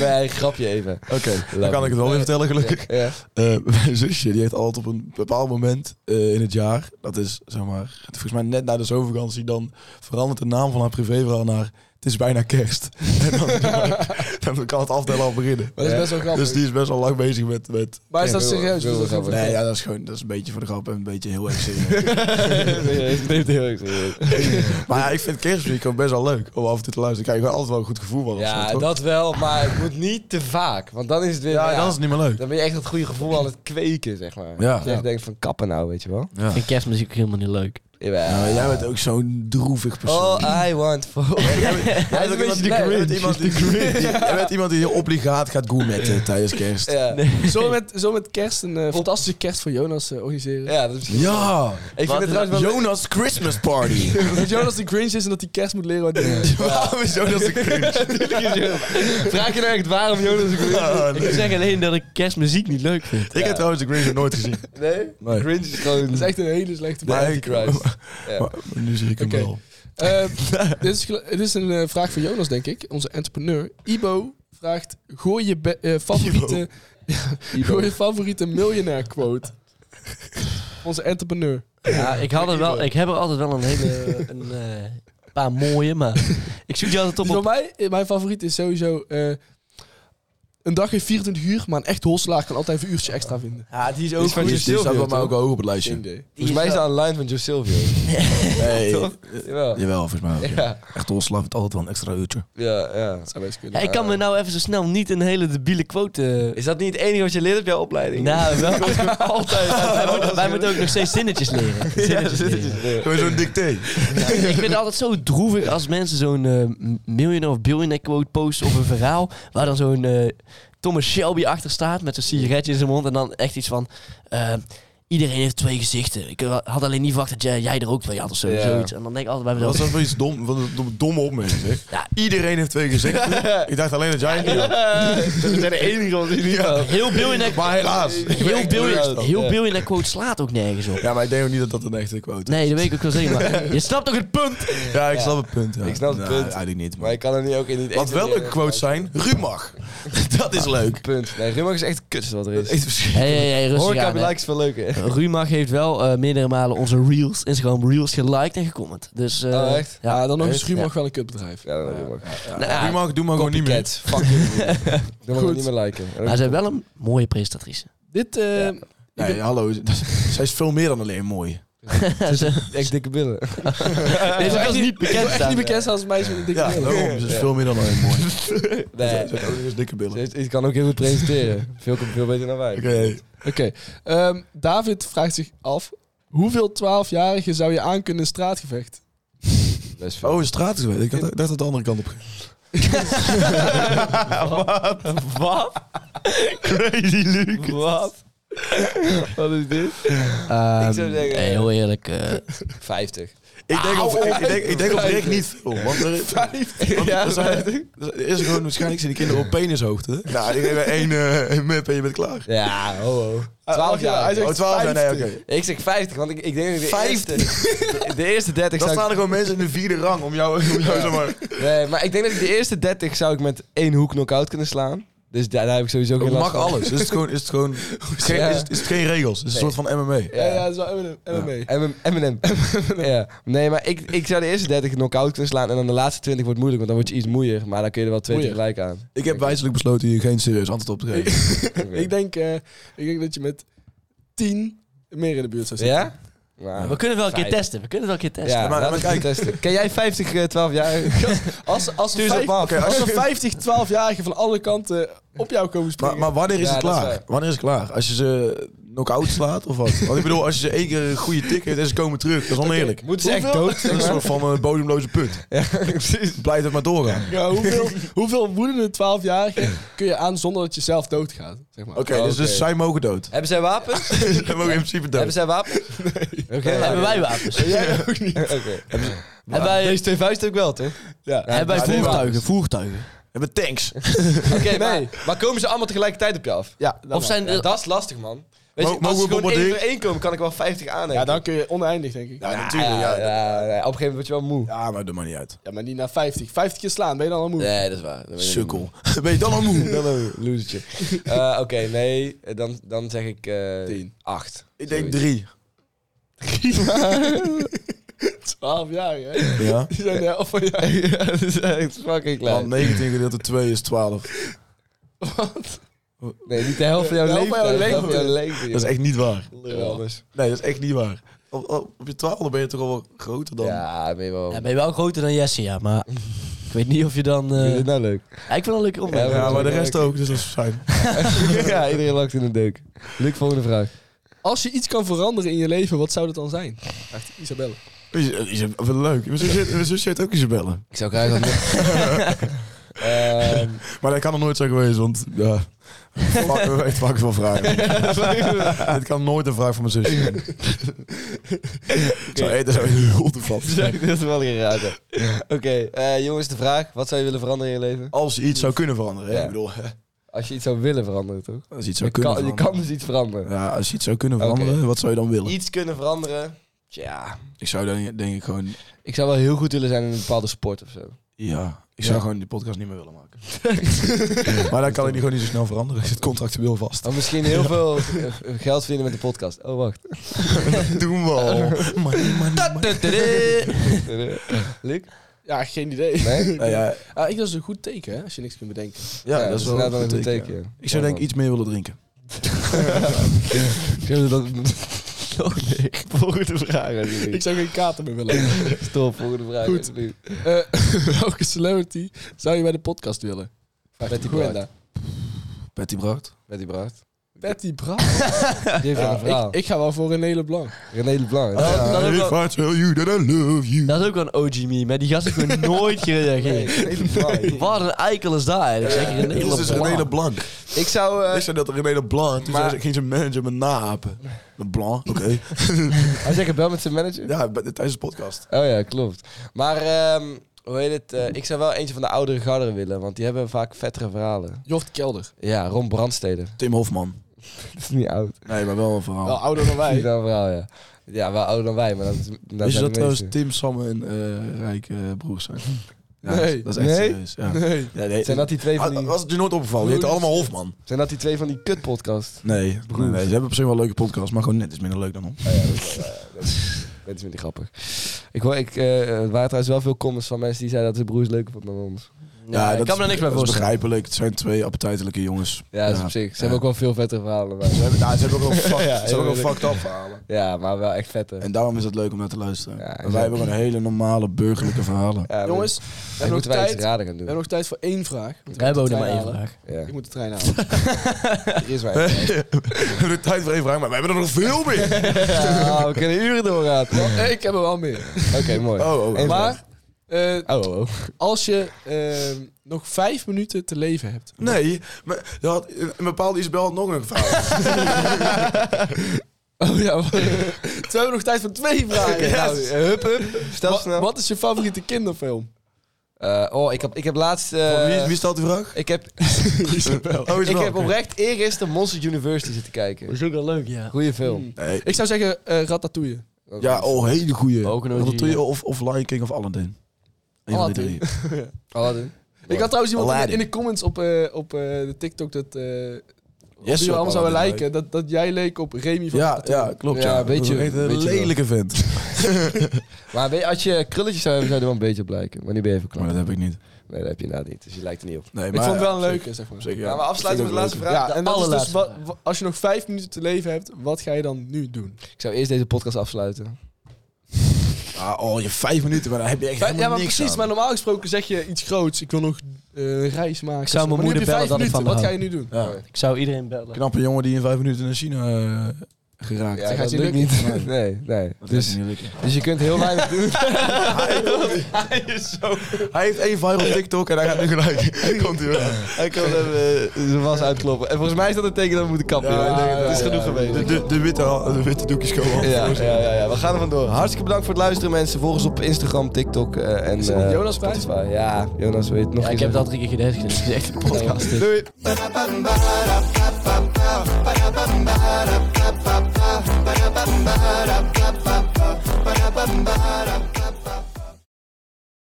S2: Nee, grapje even.
S3: Oké, dan kan ik het wel weer vertellen, gelukkig.
S2: Ja.
S3: Eh, mijn zusje die heeft altijd op een bepaald moment eh, in het jaar, dat is zeg maar, volgens mij net na de zomervakantie, dan verandert de naam van haar privéverhaal naar het is bijna kerst. en dan, dan kan het aftellen al beginnen.
S4: Maar dat is best wel grappig.
S3: Dus die is best wel lang bezig met... met
S4: Maar is dat
S2: Ja, wil-
S4: serieus?
S2: wil-
S4: Is dat
S2: wil-
S4: grappig?
S3: nee, ja, dat is gewoon dat is een beetje voor de grap en een beetje heel erg serieus.
S2: Serieus, ik neem het heel erg serieus.
S3: maar ja, ik vind kerstmuziek ook best wel leuk om af en toe te luisteren. Kijk, ik heb altijd wel een goed gevoel van. of zo,
S2: Ja,
S3: toch?
S2: dat wel, maar het moet niet te vaak. Want dan is het weer...
S3: ja,
S2: nou ja,
S3: dat is niet meer leuk.
S2: Dan ben je echt dat goede gevoel aan het kweken, zeg maar.
S3: Ja.
S2: Dat je echt denkt van kappen nou, weet je wel.
S5: Ik vind kerstmuziek ook helemaal niet leuk.
S2: Jawel.
S3: Nou, jij bent ook zo'n droevig persoon.
S2: All Oh, I want for... Hij
S3: Jij
S2: is
S3: bent
S2: een
S3: ook
S2: beetje
S3: iemand-
S2: de
S3: nee, jij bent
S2: Grinch.
S3: iemand die- jij bent iemand die heel obligaat gaat gourmetten tijdens kerst.
S2: Ja.
S4: Zullen we met, zullen we met kerst een eh, fantastische kerst voor Jonas eh, organiseren?
S2: ja, dat is misschien...
S3: Ja,
S2: Ik vind het trouwens wel...
S3: Jonas Christmas Party.
S4: Dat Jonas de Grinch is en dat hij kerst moet leren. wat hij doet.
S3: Waarom is Jonas de Grinch?
S2: Vraag je nou echt waarom Jonas de Grinch?
S3: Ah,
S5: Ik
S3: nee.
S5: zeg alleen dat ik kerstmuziek niet leuk vind.
S3: Ik heb trouwens de Grinch nog nooit gezien.
S2: Nee?
S3: Nee.
S2: Grinch is gewoon...
S4: Dat is echt een hele slechte
S2: de
S4: vraag.
S3: ik-
S2: Antichrist. Ja.
S3: Maar nu zie ik hem
S4: Oké.
S3: wel.
S4: Eh, dit, is, gel- dit is een eh, vraag voor Jonas, denk ik. Onze entrepreneur. Ibo vraagt, gooi je, be- eh, favoriete, gooi je favoriete miljonair quote. Onze entrepreneur.
S5: Ja, ik, had er wel, ik heb er altijd wel een hele een, eh, paar mooie, maar ik zoek die altijd op.
S4: Die
S5: op
S4: van mij, eh, mijn favoriet is sowieso... eh, een dag heeft 24 uur, maar een echt holslaag kan altijd een uurtje extra vinden.
S2: Ja, Ah, die is
S3: Die staat-
S2: van
S3: die staat
S2: Silvio,
S3: bij mij ook
S2: toch?
S3: wel hoog op het lijstje.
S2: Volgens mij is dat een line van Joe Silvio.
S3: Nee.
S2: Toch? Jawel.
S3: Jawel, volgens mij. ook, ja.
S2: Ja,
S3: Echt ontslaaf het altijd wel een extra uurtje.
S2: ja, ja.
S4: Dat zou best kunnen. Eh,
S5: ja, ik kan me nou even zo snel niet een hele debiele quote... eh,
S2: Is dat niet het enige wat je leert op jouw opleiding?
S5: nou, wel. altijd. Wij, moeten- wij moeten ook nog steeds zinnetjes leren. Zinnetjes leren.
S3: Gewoon zo'n dicté.
S5: Ik vind het altijd zo droevig als mensen zo'n eh, miljonair of billionaire quote posten op een verhaal. Waar dan zo'n eh, Thomas Shelby achter staat met zo'n sigaretje in zijn mond. En dan echt iets van... eh, Iedereen heeft twee gezichten. Ik eh, had alleen niet verwacht dat jij, jij er ook twee had of zo.
S2: Ja.
S5: Zoiets. En dan denk ik altijd bij
S3: Dat
S5: mezelf...
S3: is wel iets dom, wat een dom- domme opmerking, zeg.
S5: Ja.
S3: Iedereen heeft twee gezichten. Ik dacht alleen dat jij...
S2: We zijn de enige wat die niet had.
S5: Heel billionaire
S3: Maar helaas. ik ben
S5: Heel
S3: echt
S5: billion,
S3: teleurgesteld.
S5: heel biljonair quote slaat ook nergens op.
S3: Ja, maar ik denk ook niet dat dat een echte quote is.
S5: Nee, dat weet ik ook wel zeker. Maar je snapt toch het punt?
S3: Ja, ik snap het punt. Ja.
S2: Ik snap het
S3: Nou,
S2: punt.
S3: Eigenlijk niet.
S2: Maar
S3: Maar
S2: ik kan er niet ook in niet
S3: Wat wel een quote zijn, Rumach. dat is leuk.
S2: Punt. Nee, Rumach is echt het kutste wat er
S3: Dat
S2: is.
S3: is verschrikkelijk.
S5: Hey, hey, hey, rustig
S2: Horeca
S5: aan. hè.
S2: Black is veel
S5: Eh,
S2: leuker.
S5: Rumach heeft wel eh, meerdere malen onze reels, Instagram reels, geliked en gecomment. Dus, eh,
S2: Oh, echt?
S4: Ja, dan nog
S5: Ja.
S4: eens Schuur mag wel een kutbedrijf.
S2: Ja, dat Rumach.
S5: Nou, ja,
S3: Rumach, doe maar gewoon niet meer.
S2: Copycat. Fuck you. Doe maar
S4: Goed.
S2: niet meer liken.
S5: maar ze hebben wel een mooie presentatrice.
S4: Dit, eh,
S3: Nee, hallo. Zij is veel meer dan alleen mooi.
S5: Ze-
S2: Echt dikke billen.
S5: Deze was niet bekend.
S4: ik wil echt niet
S5: staan.
S4: bekend staan als meisje met een dikke
S3: Ja,
S4: bril.
S3: daarom. Ze is veel meer dan alleen mooi.
S2: Nee.
S3: Ze heeft ook nog eens dikke
S2: Ze
S3: billen.
S2: heeft- Ze kan ook heel goed presenteren. Veel, veel beter dan wij.
S3: Oké.
S4: Oké, ehm, David vraagt zich af... Hoeveel 12-jarigen zou je aan kunnen in straatgevecht?
S2: Best veel.
S3: Oh, een straatgevecht. Ik had- ik dacht dat de andere kant op ging.
S5: Wat? Crazy Luke. Wat?
S2: Wat is dit?
S5: Ehm,
S2: zou zeggen-
S5: nee, heel eerlijk. eh,
S2: 50.
S3: Ik denk, op, ik, ik denk, ik denk oprecht niet veel. Want er, want
S2: Ja,
S3: er, zijn, er is gewoon waarschijnlijk zijn die kinderen op penishoogte. Nou, die geven één, eh, één mip en je bent klaar.
S2: Ja, ho ho. 12 jaar.
S4: hij zegt
S3: Oh, 12 jaar, nee, oké.
S4: 50.
S2: Ik zeg 50, want ik, ik denk dat ik de
S3: 50?
S2: eerste... De, de eerste 30
S3: Dan
S2: zou ik...
S3: staan er gewoon mensen in de vierde rang om jou, om jou zeg maar...
S2: Nee, maar ik denk dat ik de eerste 30 zou ik met één hoek knock-out kunnen slaan. Dus daar, daar heb ik sowieso geen
S3: Het
S2: last
S3: mag
S2: van.
S3: alles. Is het gewoon, is het gewoon, geen, is, het, is het geen regels? Is het een soort van MMA?
S4: Ja, ja, dat is wel M&M. MMA.
S2: M- M&M. ja. Nee, maar ik, ik zou de eerste 30 knock-out kunnen slaan. En dan de laatste 20 wordt moeilijk, want dan word je iets moeier. Maar dan kun je er wel twee
S4: Moeier.
S2: tegelijk aan.
S3: Ik heb wijzelijk besloten hier geen serieus antwoord op te geven.
S4: Ik denk, eh, ik denk dat je met 10 meer in de buurt zou zitten.
S2: Ja? Nou,
S5: we kunnen wel een keer
S2: Vijf.
S5: testen. We kunnen wel een keer testen.
S2: Ja,
S3: maar
S2: laten we
S3: kijk.
S2: het testen. Ken jij 50 eh, 12 jaar?
S4: Als, als,
S2: Stuur ze
S4: vijf-
S2: op af.
S3: Oké,
S4: als
S3: als
S4: er
S3: je-
S4: 50, 12-jarigen van alle kanten eh, op jou komen springen.
S3: Maar, maar wanneer is
S2: Ja,
S3: het
S2: dat is
S3: klaar?
S2: waar.
S3: wanneer is het klaar? Als je ze knock-out slaat of wat? Want ik bedoel, als je ze één keer een goede tik geeft en ze komen terug, dat is oneerlijk.
S2: Moeten ze echt
S4: Hoeveel?
S2: dood?
S3: Dat is een soort van een bodemloze put.
S2: Ja, precies.
S3: Blijf het maar doorgaan.
S4: Ja, hoeveel, hoeveel woedende 12-jarigen kun je aan zonder dat je zelf doodgaat? Zeg maar.
S3: Oké, dus,
S2: Oké.
S3: dus zij mogen dood.
S2: Hebben zij wapens?
S3: Zij mogen in principe
S2: Hebben
S3: dood.
S2: zij wapens? Nee.
S5: Hebben wij wapens?
S4: Jij ook niet.
S2: Oké.
S5: Hebben wij,
S2: Deze twee vuisten ook wel, toch?
S4: Ja.
S5: hebben wij
S3: Ja, nee,
S5: voertuigen?
S3: wapens.
S5: Voertuigen.
S3: Hebben tanks.
S2: Oké, maar, maar komen ze allemaal tegelijkertijd op je af?
S4: Ja, dan
S5: Of zijn
S2: Ja,
S5: er...
S2: dat is lastig, man. Weet
S3: Mo-
S2: je, als
S3: mogen
S2: ze
S3: we
S2: gewoon één
S3: bombarderen?
S2: voor één komen, kan ik wel 50 aannemen.
S4: ja, dan kun je oneindig, denk ik.
S3: Ja, natuurlijk. Ja, ja,
S2: nee, op een gegeven moment word je wel moe.
S3: maar dat maakt niet uit.
S4: Ja, maar niet naar 50. 50 keer slaan, ben je dan al moe.
S2: Nee, dat is waar. Dan ben je
S3: Sukkel. Ben je dan al moe?
S2: Dan een losertje. Eh, Oké, nee, eh, dan, dan zeg ik... eh
S4: Tien.
S2: Acht.
S3: Ik denk
S2: Zoiets.
S3: drie.
S4: 12 jaar, hè?
S3: Ja.
S4: Die zijn de helft van jou.
S2: ja, dat is echt fucking
S3: Want
S2: klein.
S3: 19 gedeeld door 2 is 12.
S2: Nee, niet de helft van jouw
S4: De helft
S2: leven.
S4: van jouw
S2: van jouw
S4: leeftijd.
S2: leeftijd,
S3: Dat is echt niet waar.
S2: joh. Lul, anders.
S3: Nee, dat is echt niet waar. Op, op, op je 12 ben je toch al wel groter dan.
S2: Ja, ben je wel...
S5: Ja, ben je wel groter dan Jesse, ja. Maar ik weet niet of je dan... eh,
S2: Vind je dit nou leuk?
S5: ja, ik vind het een leuke opmerking.
S3: Ja,
S2: Ja,
S3: maar de
S2: ja,
S3: rest ook, dus dat is fijn.
S2: ja, iedereen lakt in de deuk. Luc, volgende vraag.
S4: Als je iets kan veranderen in je leven, wat zou dat dan zijn? Vraagt Isabelle.
S3: Is- is- Wat leuk. Mijn zus heeft- mijn zusje heeft ook Isabelle.
S2: Ik zou graag... Ehm
S3: Maar dat kan er nooit zijn geweest, want ja, fuck, we weten vaak veel vragen. Het kan nooit een vraag van mijn zusje zijn. Zou eten zou heel toevallig zijn.
S2: dat is wel geraden. Oké, eh, jongens, de vraag. Wat zou je willen veranderen in je leven?
S3: Als je iets zou kunnen veranderen, hè?
S2: Ja.
S3: ik bedoel, hè,
S2: Als je iets zou willen veranderen, toch?
S3: als je iets
S2: Je
S3: zou kunnen
S2: kan, je kan
S3: veranderen.
S2: dus iets veranderen.
S3: Ja, als je iets zou kunnen
S2: Oké.
S3: veranderen, wat zou je dan willen?
S2: Iets kunnen veranderen. Tja.
S3: Ik zou dan denk ik gewoon,
S2: Ik zou wel heel goed willen zijn in een bepaalde sport of zo.
S3: ja, ik zou gewoon die podcast niet meer willen maken. maar dan kan ik die gewoon niet zo snel veranderen. Zit contractueel vast.
S2: Of misschien heel veel eh, geld verdienen met de podcast. Oh, wacht.
S3: Doen we al.
S2: Luc?
S4: Ja, geen idee.
S2: Nee?
S3: Nou ja,
S4: Ah, ik dat is een goed teken, hè? Als je niks kunt bedenken.
S3: ja, dat is wel
S2: inderdaad een goed teken.
S3: Ik zou denk ik iets meer willen drinken.
S2: Zullen we dat... Oh nee, volgende vraag. alsjeblieft.
S4: Ik zou geen kater meer willen. hebben.
S2: Stop, volgende vraag.
S4: Goed.
S2: alsjeblieft.
S4: Eh, welke celebrity zou je bij de podcast willen? Vraagt
S2: Betty
S4: Gwenda.
S2: Bracht.
S3: Patty Bracht.
S2: Met die bracht.
S4: Betty Bracht.
S2: Die heeft wel een verhaal.
S4: ik, ik ga wel voor René Leblanc.
S2: René Leblanc.
S5: dat, dat, is ook wel,
S3: I tell you that I love you.
S5: dat is ook wel een OG meme, maar die gast heeft gewoon nooit
S2: Nee,
S5: gereageerd.
S2: René Leblanc.
S5: Wat een eikel is dat eigenlijk. Zeker in
S3: Dit is dus René
S5: Nederland.
S3: Leblanc.
S2: Ik zou... eh,
S4: Dus-
S3: Ik zei dat René Leblanc. Toen
S2: Maar-
S3: zei ze, ging zijn manager me naapen. Leblanc, oké.
S2: Hij zegt wel met zijn manager?
S3: ja, bij- tijdens de podcast.
S2: Oh ja, klopt. Maar ehm, hoe heet het? eh, ik zou wel eentje van de oudere garden willen, want die hebben vaak vettere verhalen.
S4: Joft Kelder.
S2: Ja, Ron Brandsteder.
S3: Tim Hofman.
S2: Dat is niet oud.
S3: Nee, maar wel een verhaal.
S4: Wel ouder dan
S2: Dat Oh. is
S4: wij.
S2: niet een verhaal, ja. Ja, wel ouder dan wij, maar dat, is- dat
S3: Weet je
S2: zijn
S3: dat
S2: de
S3: trouwens
S2: meeste. Hm.
S3: Tim, Sam en eh Rijk eh, broers zijn? Ja,
S4: Nee.
S3: Dat is echt
S2: Nee?
S3: serieus. Ja.
S4: Nee.
S3: Ja, nee.
S2: Zijn dat die twee van
S3: Ah,
S2: die,
S3: Was het je nooit opgevallen? Je heet allemaal Hofman.
S2: zijn dat die, twee van die kutpodcast?
S3: Nee, nee, nee, ze hebben op zich wel een leuke podcast, maar gewoon net iets minder leuk dan hem.
S2: Dat is minder grappig. Ik hoor, ik, eh, er waren trouwens wel veel comments van mensen die zeiden dat de broers leuker vonden dan ons.
S5: Ja, ik
S3: dat
S5: kan
S3: is-
S5: me daar niks bij
S3: Dat is
S5: voorstellen.
S3: begrijpelijk. Het zijn twee appetijtelijke jongens.
S2: Ja, dat is op zich. Ze hebben ook wel veel vettere verhalen. Maar,
S3: Ze hebben, nou, ze hebben ook wel fuck-
S2: Ja,
S3: ze hebben ook
S2: heel
S3: wel fucked up verhalen.
S2: ja, maar wel echt vette.
S3: En daarom is het leuk om naar te luisteren.
S2: eh, Ja,
S3: en
S2: exact.
S3: wij hebben gewoon hele normale burgerlijke verhalen.
S2: Ja, maar-
S4: Jongens, we
S2: Daar
S4: hebben, nog
S2: moeten wij
S4: tijd,
S2: iets
S4: we
S2: raden gaan doen.
S4: hebben nog tijd voor één vraag. Want ik
S5: We hebben ook
S4: moet de
S5: nog maar één
S4: trein halen.
S5: vraag.
S2: Ja.
S4: Ik moet de trein halen.
S2: Er is maar één.
S3: We hebben de tijd voor één vraag, maar we hebben er nog veel meer.
S2: Ja, we kunnen uren doorgaan.
S4: ik heb er wel meer.
S2: Oké, mooi.
S3: Oh, oh,
S2: Eén
S3: oh.
S4: Maar Eh,
S2: Oh, oh, oh.
S4: als je eh, nog vijf minuten te leven hebt.
S3: Nee, maar er had, een bepaalde Isabel had nog een verhaal.
S4: Oh ja, we hebben nog tijd voor twee vragen.
S2: Nou, hup, hup. Stel
S4: Wa-
S2: snel.
S4: Wat is je favoriete kinderfilm?
S2: Eh, oh, ik heb, ik heb laatst... eh,
S3: wie, wie stelt die vraag?
S2: ik heb,
S4: Isabel.
S3: Oh,
S2: ik
S3: Isabel.
S2: heb oprecht eergisteren Monsters University zitten kijken.
S5: is ook wel leuk, ja.
S2: Goeie film.
S3: Nee.
S4: Ik zou zeggen eh Ratatouille.
S3: Hmm. Ja, oh, hele goeie.
S5: Ook een OG,
S3: Ratatouille
S5: ja.
S3: of, of Lion King of Aladdin. Een van die
S4: Aladdin.
S3: drie.
S2: Aladdin.
S4: Ik had trouwens iemand in de- in
S3: Aladdin.
S4: de comments op, eh, op eh, de TikTok dat... eh
S3: Yes,
S4: yes,
S3: op
S4: allemaal zouden
S3: Aladdin,
S4: lijken. Dat, dat jij leek op Remy van
S3: Ja,
S4: Ratatouille.
S3: ja, klopt.
S2: Ja,
S3: Ja,
S2: een beetje-
S3: Dat is echt
S2: een
S3: een
S2: beetje
S3: lelijke vent.
S2: Maar weet je, als je krulletjes zou hebben, zou je er wel een beetje op lijken. Maar nu ben je even klaar.
S3: Maar dat heb ik niet.
S2: Nee, dat heb je inderdaad niet. Dus je lijkt er niet op.
S3: Nee,
S4: Ik
S3: maar,
S4: vond het wel een
S3: ja,
S4: leuke, zeg maar.
S3: Zeker,
S2: Ja, maar afsluiten met de laatste vraag.
S4: Ja,
S2: De
S4: en dat is dus
S2: allerlaatste
S4: wat,
S2: vraag.
S4: wa- als je nog vijf minuten te leven hebt, wat ga je dan nu doen?
S2: Ik zou eerst deze podcast afsluiten.
S3: Ah, oh, je vijf minuten, maar dan heb je echt helemaal
S4: ja, maar
S3: niks
S4: precies.
S3: aan.
S4: Maar normaal gesproken zeg je iets groots. Ik wil nog eh, een reis maken.
S5: zou mijn
S4: Maar nu heb
S5: moeder
S4: je
S5: bellen
S4: vijf
S5: dat ik
S4: minuten,
S5: van haar
S4: Wat ga je nu doen?
S3: Ja.
S4: Oh, ja.
S5: Ik zou iedereen bellen.
S3: Knappe jongen die in vijf minuten naar China eh, geraakt.
S4: dat gaat je
S2: lukt
S4: lukken.
S2: niet. Nee, nee.
S3: Dat
S2: Dus,
S3: gaat niet lukken.
S2: dus je kunt heel weinig doen.
S3: Hij heeft één viral op TikTok en hij gaat nu gelijk. Komt hij weer.
S2: Hij kan hem eh, zijn was uitkloppen. En volgens mij is dat een teken dat we moeten kappen.
S3: Ja,
S2: joh. Ik denk
S3: ja,
S2: het is
S3: ja,
S2: genoeg
S3: ja.
S2: geweest.
S3: De, de, de, witte, de witte doekjes komen af.
S2: Ja, ja, ja, ja, we gaan er vandoor. Hartstikke bedankt voor het luisteren, mensen. Volg ons op Instagram, TikTok eh, en.
S4: er nog
S2: eh,
S4: Jonas bij?
S2: Spotify. Ja, Jonas weet nog
S5: Ja,
S2: eens
S5: ik heb
S2: even.
S5: dat drie keer gedaan. Het is echt een podcast.
S2: Doei.
S8: Ba-da-bum-ba-da, ba-da-bum-ba-da,